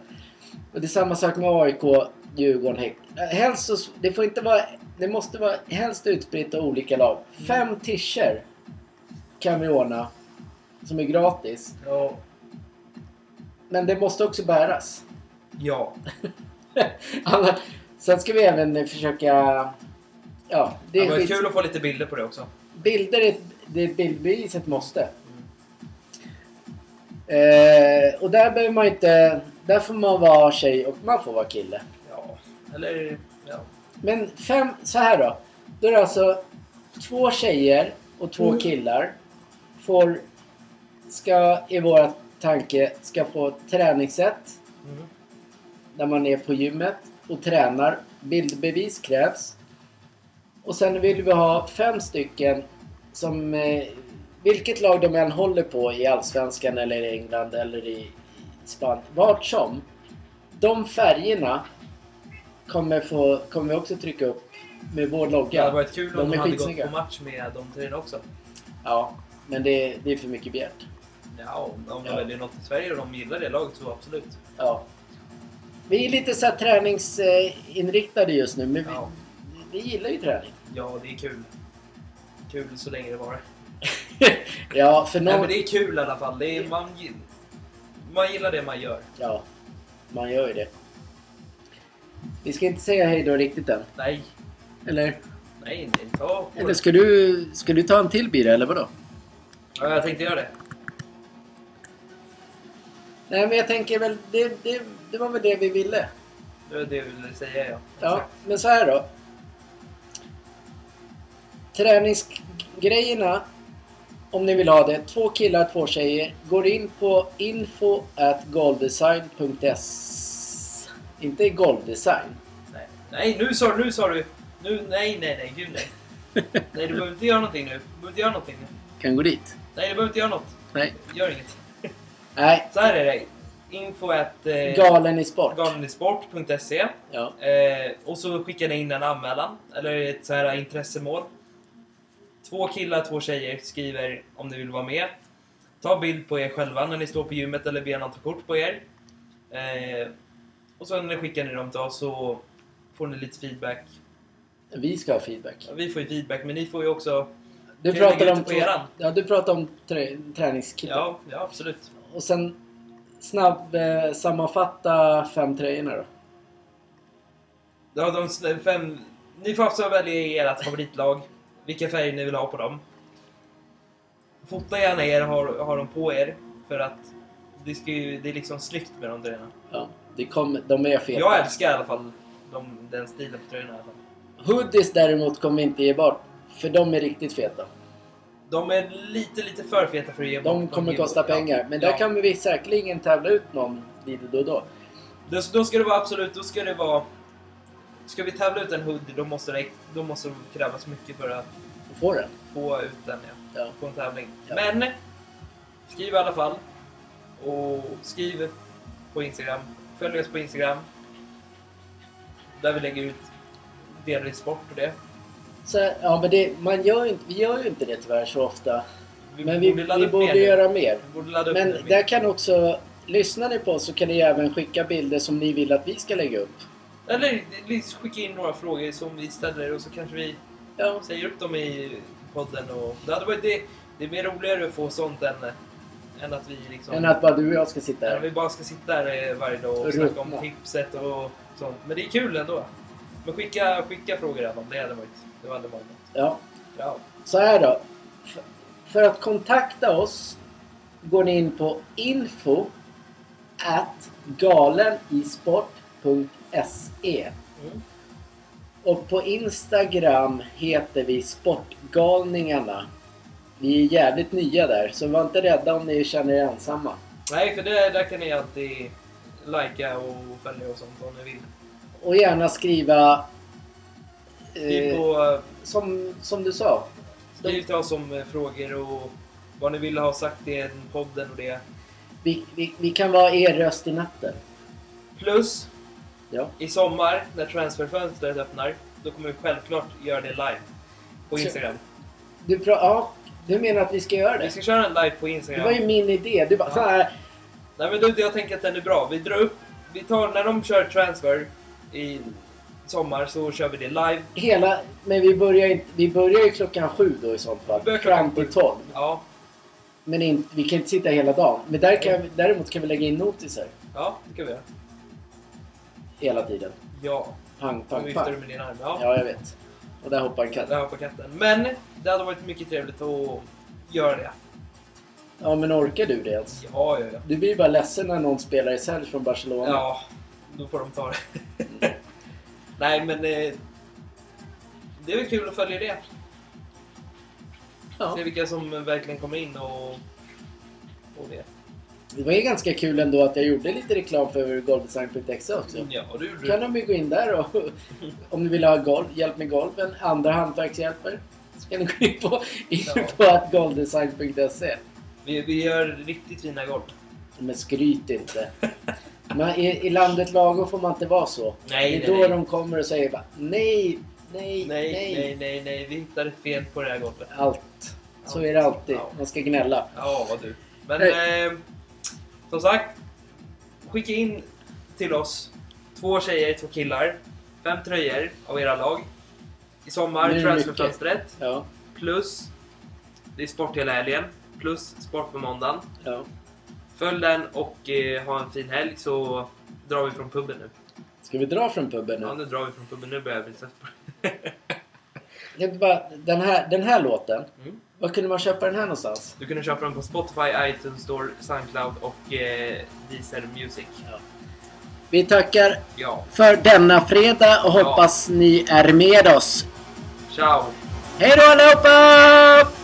[SPEAKER 1] Och det är samma sak med AIK, Djurgården, Häcken. Eh, Helst så, Det får inte vara... Det måste vara helst utspritt av olika lag. Fem tischer kan vi ordna. Som är gratis.
[SPEAKER 2] Ja.
[SPEAKER 1] Men det måste också bäras.
[SPEAKER 2] Ja.
[SPEAKER 1] Annars- Sen ska vi även eh, försöka... Ja, det
[SPEAKER 2] Det
[SPEAKER 1] är
[SPEAKER 2] var
[SPEAKER 1] skit...
[SPEAKER 2] kul att få lite bilder på det också.
[SPEAKER 1] Bilder är ett, det är bildbevis ett måste. Eh, och där behöver man inte... Där får man vara tjej och man får vara kille.
[SPEAKER 2] Ja. Eller... Ja.
[SPEAKER 1] Men fem... Så här då. Då är det alltså två tjejer och två killar. Får... Ska, i våra tanke, ska få träningssätt
[SPEAKER 2] Mm.
[SPEAKER 1] där man är på gymmet och tränar. Bildbevis krävs. Och sen vill vi ha fem stycken som... Eh, vilket lag de än håller på i Allsvenskan eller i England eller i Spanien. Vart som. De färgerna kommer, få, kommer vi också trycka upp med vår
[SPEAKER 2] Det hade
[SPEAKER 1] logga.
[SPEAKER 2] varit kul
[SPEAKER 1] De
[SPEAKER 2] om
[SPEAKER 1] är
[SPEAKER 2] de hade gått
[SPEAKER 1] skitsnygga.
[SPEAKER 2] på match med de tre också.
[SPEAKER 1] Ja, men det, det är för mycket begärt.
[SPEAKER 2] Ja, om de
[SPEAKER 1] Ja.
[SPEAKER 2] väljer något i Sverige och de gillar det laget så absolut.
[SPEAKER 1] Ja. Vi är lite så här träningsinriktade just nu, men vi,
[SPEAKER 2] Ja,
[SPEAKER 1] vi gillar ju träning.
[SPEAKER 2] ja det är kul. Kul så länge det var.
[SPEAKER 1] ja, för
[SPEAKER 2] Nej
[SPEAKER 1] någon...
[SPEAKER 2] men det är kul i alla fall. Det är, man, gill- man gillar det man gör.
[SPEAKER 1] Ja, man gör ju det. Vi ska inte säga hej då riktigt än.
[SPEAKER 2] Nej,
[SPEAKER 1] Eller?
[SPEAKER 2] nej, nej. Ta på
[SPEAKER 1] Eller
[SPEAKER 2] det.
[SPEAKER 1] ska du, ska du ta en till bira eller vadå?
[SPEAKER 2] Ja, jag tänkte göra det.
[SPEAKER 1] Nej men jag tänker väl, det, det, det var väl det vi ville.
[SPEAKER 2] Det var det jag ville säga ja.
[SPEAKER 1] Ja,
[SPEAKER 2] Exakt.
[SPEAKER 1] men så här då. Träningsgrejerna, om ni vill ha det, två killar, två tjejer, går in på info at golvdesign.se Inte golvdesign.
[SPEAKER 2] Nej, nej nu sa du, nu sa du. Nu, nej, nej, nej, gud nej. Nej, du behöver inte göra någonting nu. Du behöver inte göra någonting nu.
[SPEAKER 1] Kan gå dit?
[SPEAKER 2] Nej, du behöver inte göra något.
[SPEAKER 1] Nej.
[SPEAKER 2] Gör inget.
[SPEAKER 1] Nej,
[SPEAKER 2] Så här är det. Info at eh,
[SPEAKER 1] galen i sport.
[SPEAKER 2] galenisport.se
[SPEAKER 1] Ja,
[SPEAKER 2] eh, Och så skickar ni in en anmälan, eller ett så här intressemål. Två killar, två tjejer skriver om ni vill vara med. Ta bild på er själva när ni står på gymmet eller be någon ta kort på er. Eh, och sen skickar ni dem till oss så får ni lite feedback.
[SPEAKER 1] vi ska ha feedback.
[SPEAKER 2] Ja, Vi får ju feedback men ni får ju också...
[SPEAKER 1] Du
[SPEAKER 2] Kan jag
[SPEAKER 1] pratar
[SPEAKER 2] lägga ut
[SPEAKER 1] om,
[SPEAKER 2] det på eran?
[SPEAKER 1] ja, du pratar om trä- träningskillar.
[SPEAKER 2] Ja, ja absolut.
[SPEAKER 1] Och sen snabb eh, sammanfatta fem tröjorna då.
[SPEAKER 2] Ja, de s- fem... Ni får också välja ert favoritlag, vilka färger ni vill ha på dem. Fota gärna er, har, har dem på er. För att det, ska ju, det är liksom snyggt med de tröjorna.
[SPEAKER 1] Ja, det kommer, de är feta.
[SPEAKER 2] Jag älskar i alla fall de, den stilen på tröjorna. i alla fall.
[SPEAKER 1] Hoodies däremot kommer vi inte ge bort. För de är riktigt feta.
[SPEAKER 2] De är lite, lite för feta för att ge
[SPEAKER 1] De kommer kosta pengar. Men där kan vi säkerligen tävla ut någon lite då och då.
[SPEAKER 2] Då, då ska det vara absolut, då ska det vara... Ska vi tävla ut en hoodie, då måste det, då måste det krävas mycket för att
[SPEAKER 1] Och få den.
[SPEAKER 2] få ut den. Ja.
[SPEAKER 1] Ja.
[SPEAKER 2] på en tävling.
[SPEAKER 1] Ja.
[SPEAKER 2] Men skriv i alla fall. Och skriv på Instagram. Följ oss på Instagram. Där vi lägger ut delvis sport och det.
[SPEAKER 1] Så, ja, men det, man gör ju inte, vi gör ju inte det tyvärr så ofta. Men vi, vi
[SPEAKER 2] upp mer
[SPEAKER 1] borde
[SPEAKER 2] nu.
[SPEAKER 1] göra mer.
[SPEAKER 2] Vi borde ladda upp
[SPEAKER 1] Men
[SPEAKER 2] mer.
[SPEAKER 1] där kan också... Lyssnar ni på oss så kan ni även skicka bilder som ni vill att vi ska lägga upp.
[SPEAKER 2] Eller liksom skicka in några frågor som vi ställer och så kanske vi
[SPEAKER 1] Ja,
[SPEAKER 2] säger upp dem i podden. Och det, hade varit det, det är mer roligare att få sånt än, än att vi liksom...
[SPEAKER 1] än att bara du och jag ska sitta
[SPEAKER 2] än att
[SPEAKER 1] här.
[SPEAKER 2] vi bara ska sitta här eh, varje dag
[SPEAKER 1] Och
[SPEAKER 2] och snacka om
[SPEAKER 1] ruttna.
[SPEAKER 2] tipset och sånt. Men det är kul ändå. Men skicka, skicka frågor även om det hade varit... Det hade varit något.
[SPEAKER 1] Ja.
[SPEAKER 2] Ja.
[SPEAKER 1] Så här då. F- För att kontakta oss går ni in på info at galenisport.se
[SPEAKER 2] Mm.
[SPEAKER 1] och på Instagram heter vi Sportgalningarna. Vi är jävligt nya där, så var inte rädda om ni känner er ensamma.
[SPEAKER 2] Nej, för det, där kan ni alltid likea och följa och sånt om ni vill.
[SPEAKER 1] Och gärna skriva...
[SPEAKER 2] Skriv,
[SPEAKER 1] Eh,
[SPEAKER 2] på,
[SPEAKER 1] som, som du sa.
[SPEAKER 2] skriv till oss om eh, frågor och vad ni vill ha sagt i den podden och det.
[SPEAKER 1] Vi, vi, vi kan vara er röst i natten.
[SPEAKER 2] Plus,
[SPEAKER 1] Ja.
[SPEAKER 2] i sommar när transferfönstret öppnar, då kommer vi självklart göra det live. På
[SPEAKER 1] Så-
[SPEAKER 2] Instagram.
[SPEAKER 1] Du, pra- ja, du menar att vi ska göra det?
[SPEAKER 2] Vi ska köra en live på
[SPEAKER 1] Det
[SPEAKER 2] Instagram.
[SPEAKER 1] var ju min idé. Du bara,
[SPEAKER 2] Ja.
[SPEAKER 1] fan,
[SPEAKER 2] Nej men du, jag tänker att den är bra. Vi drar upp, vi tar, när de kör transfer i sommar så kör vi det live.
[SPEAKER 1] hela... Men vi börjar, inte, vi börjar ju klockan sju då i sånt fall.
[SPEAKER 2] Vi börjar klockan
[SPEAKER 1] Fram till tolv.
[SPEAKER 2] Ja,
[SPEAKER 1] Men inte, vi kan inte sitta hela dagen. Men där kan, vi- däremot kan vi lägga in notiser
[SPEAKER 2] ja det kan vi göra.
[SPEAKER 1] hela tiden.
[SPEAKER 2] Ja,
[SPEAKER 1] Pang,
[SPEAKER 2] då
[SPEAKER 1] pang,
[SPEAKER 2] viftar du
[SPEAKER 1] pang.
[SPEAKER 2] med din arm. Ja,
[SPEAKER 1] Ja, jag vet. Och där hoppar en katt.
[SPEAKER 2] det här på katten. Men det hade varit mycket trevligt att göra det.
[SPEAKER 1] Ja, men orkar du det ens?
[SPEAKER 2] Ja, ja, ja.
[SPEAKER 1] Du blir ju bara ledsen när någon spelar i Sälj från Barcelona.
[SPEAKER 2] Ja, då får de ta det. Nej men eh, det är väl kul att följa det.
[SPEAKER 1] Ja.
[SPEAKER 2] Se vilka som verkligen kommer in och, och det.
[SPEAKER 1] Det var ju ganska kul ändå att jag gjorde lite reklam för golvdesign.exe också.
[SPEAKER 2] Ja, och du,
[SPEAKER 1] kan
[SPEAKER 2] du.
[SPEAKER 1] de ju gå in där och om ni vill ha golv, hjälp med golven, andra hantverkshjälper. Så kan ni gå in på, in
[SPEAKER 2] Ja.
[SPEAKER 1] på att golvdesign.se.
[SPEAKER 2] Vi, vi gör riktigt fina golv.
[SPEAKER 1] E. Men skryt inte. Man, i, I landet lagom får man inte vara så.
[SPEAKER 2] Nej,
[SPEAKER 1] det
[SPEAKER 2] nej,
[SPEAKER 1] är då
[SPEAKER 2] nej.
[SPEAKER 1] de kommer och säger bara, nej, nej,
[SPEAKER 2] Nej, nej, nej, nej. Vi hittade fel på det här golvet.
[SPEAKER 1] Allt. Så är det alltid.
[SPEAKER 2] Ja.
[SPEAKER 1] Man ska gnälla.
[SPEAKER 2] Ja, vad du. Men
[SPEAKER 1] Nej.
[SPEAKER 2] eh, som sagt, skicka in till oss två tjejer, två killar, fem tröjor av era lag. I
[SPEAKER 1] Nu är
[SPEAKER 2] sommar,
[SPEAKER 1] det
[SPEAKER 2] transferfönstret,
[SPEAKER 1] Ja,
[SPEAKER 2] plus det är sport hela helgen, plus sport på måndagen.
[SPEAKER 1] ja.
[SPEAKER 2] Följ den och eh, ha en fin helg så drar vi från puben nu.
[SPEAKER 1] Ska vi dra från puben nu?
[SPEAKER 2] Ja, nu drar vi från puben. Nu börjar jag bli trött på det.
[SPEAKER 1] Jag vill bara, den, här, den här låten,
[SPEAKER 2] Mm.
[SPEAKER 1] var kunde man köpa den här någonstans?
[SPEAKER 2] Du kunde köpa den på Spotify, iTunes Store, Soundcloud och eh, Deezer Music.
[SPEAKER 1] Vi tackar
[SPEAKER 2] Ja,
[SPEAKER 1] för denna fredag och
[SPEAKER 2] Ja.
[SPEAKER 1] hoppas ni är med oss.
[SPEAKER 2] ciao!
[SPEAKER 1] Hej då allihopa!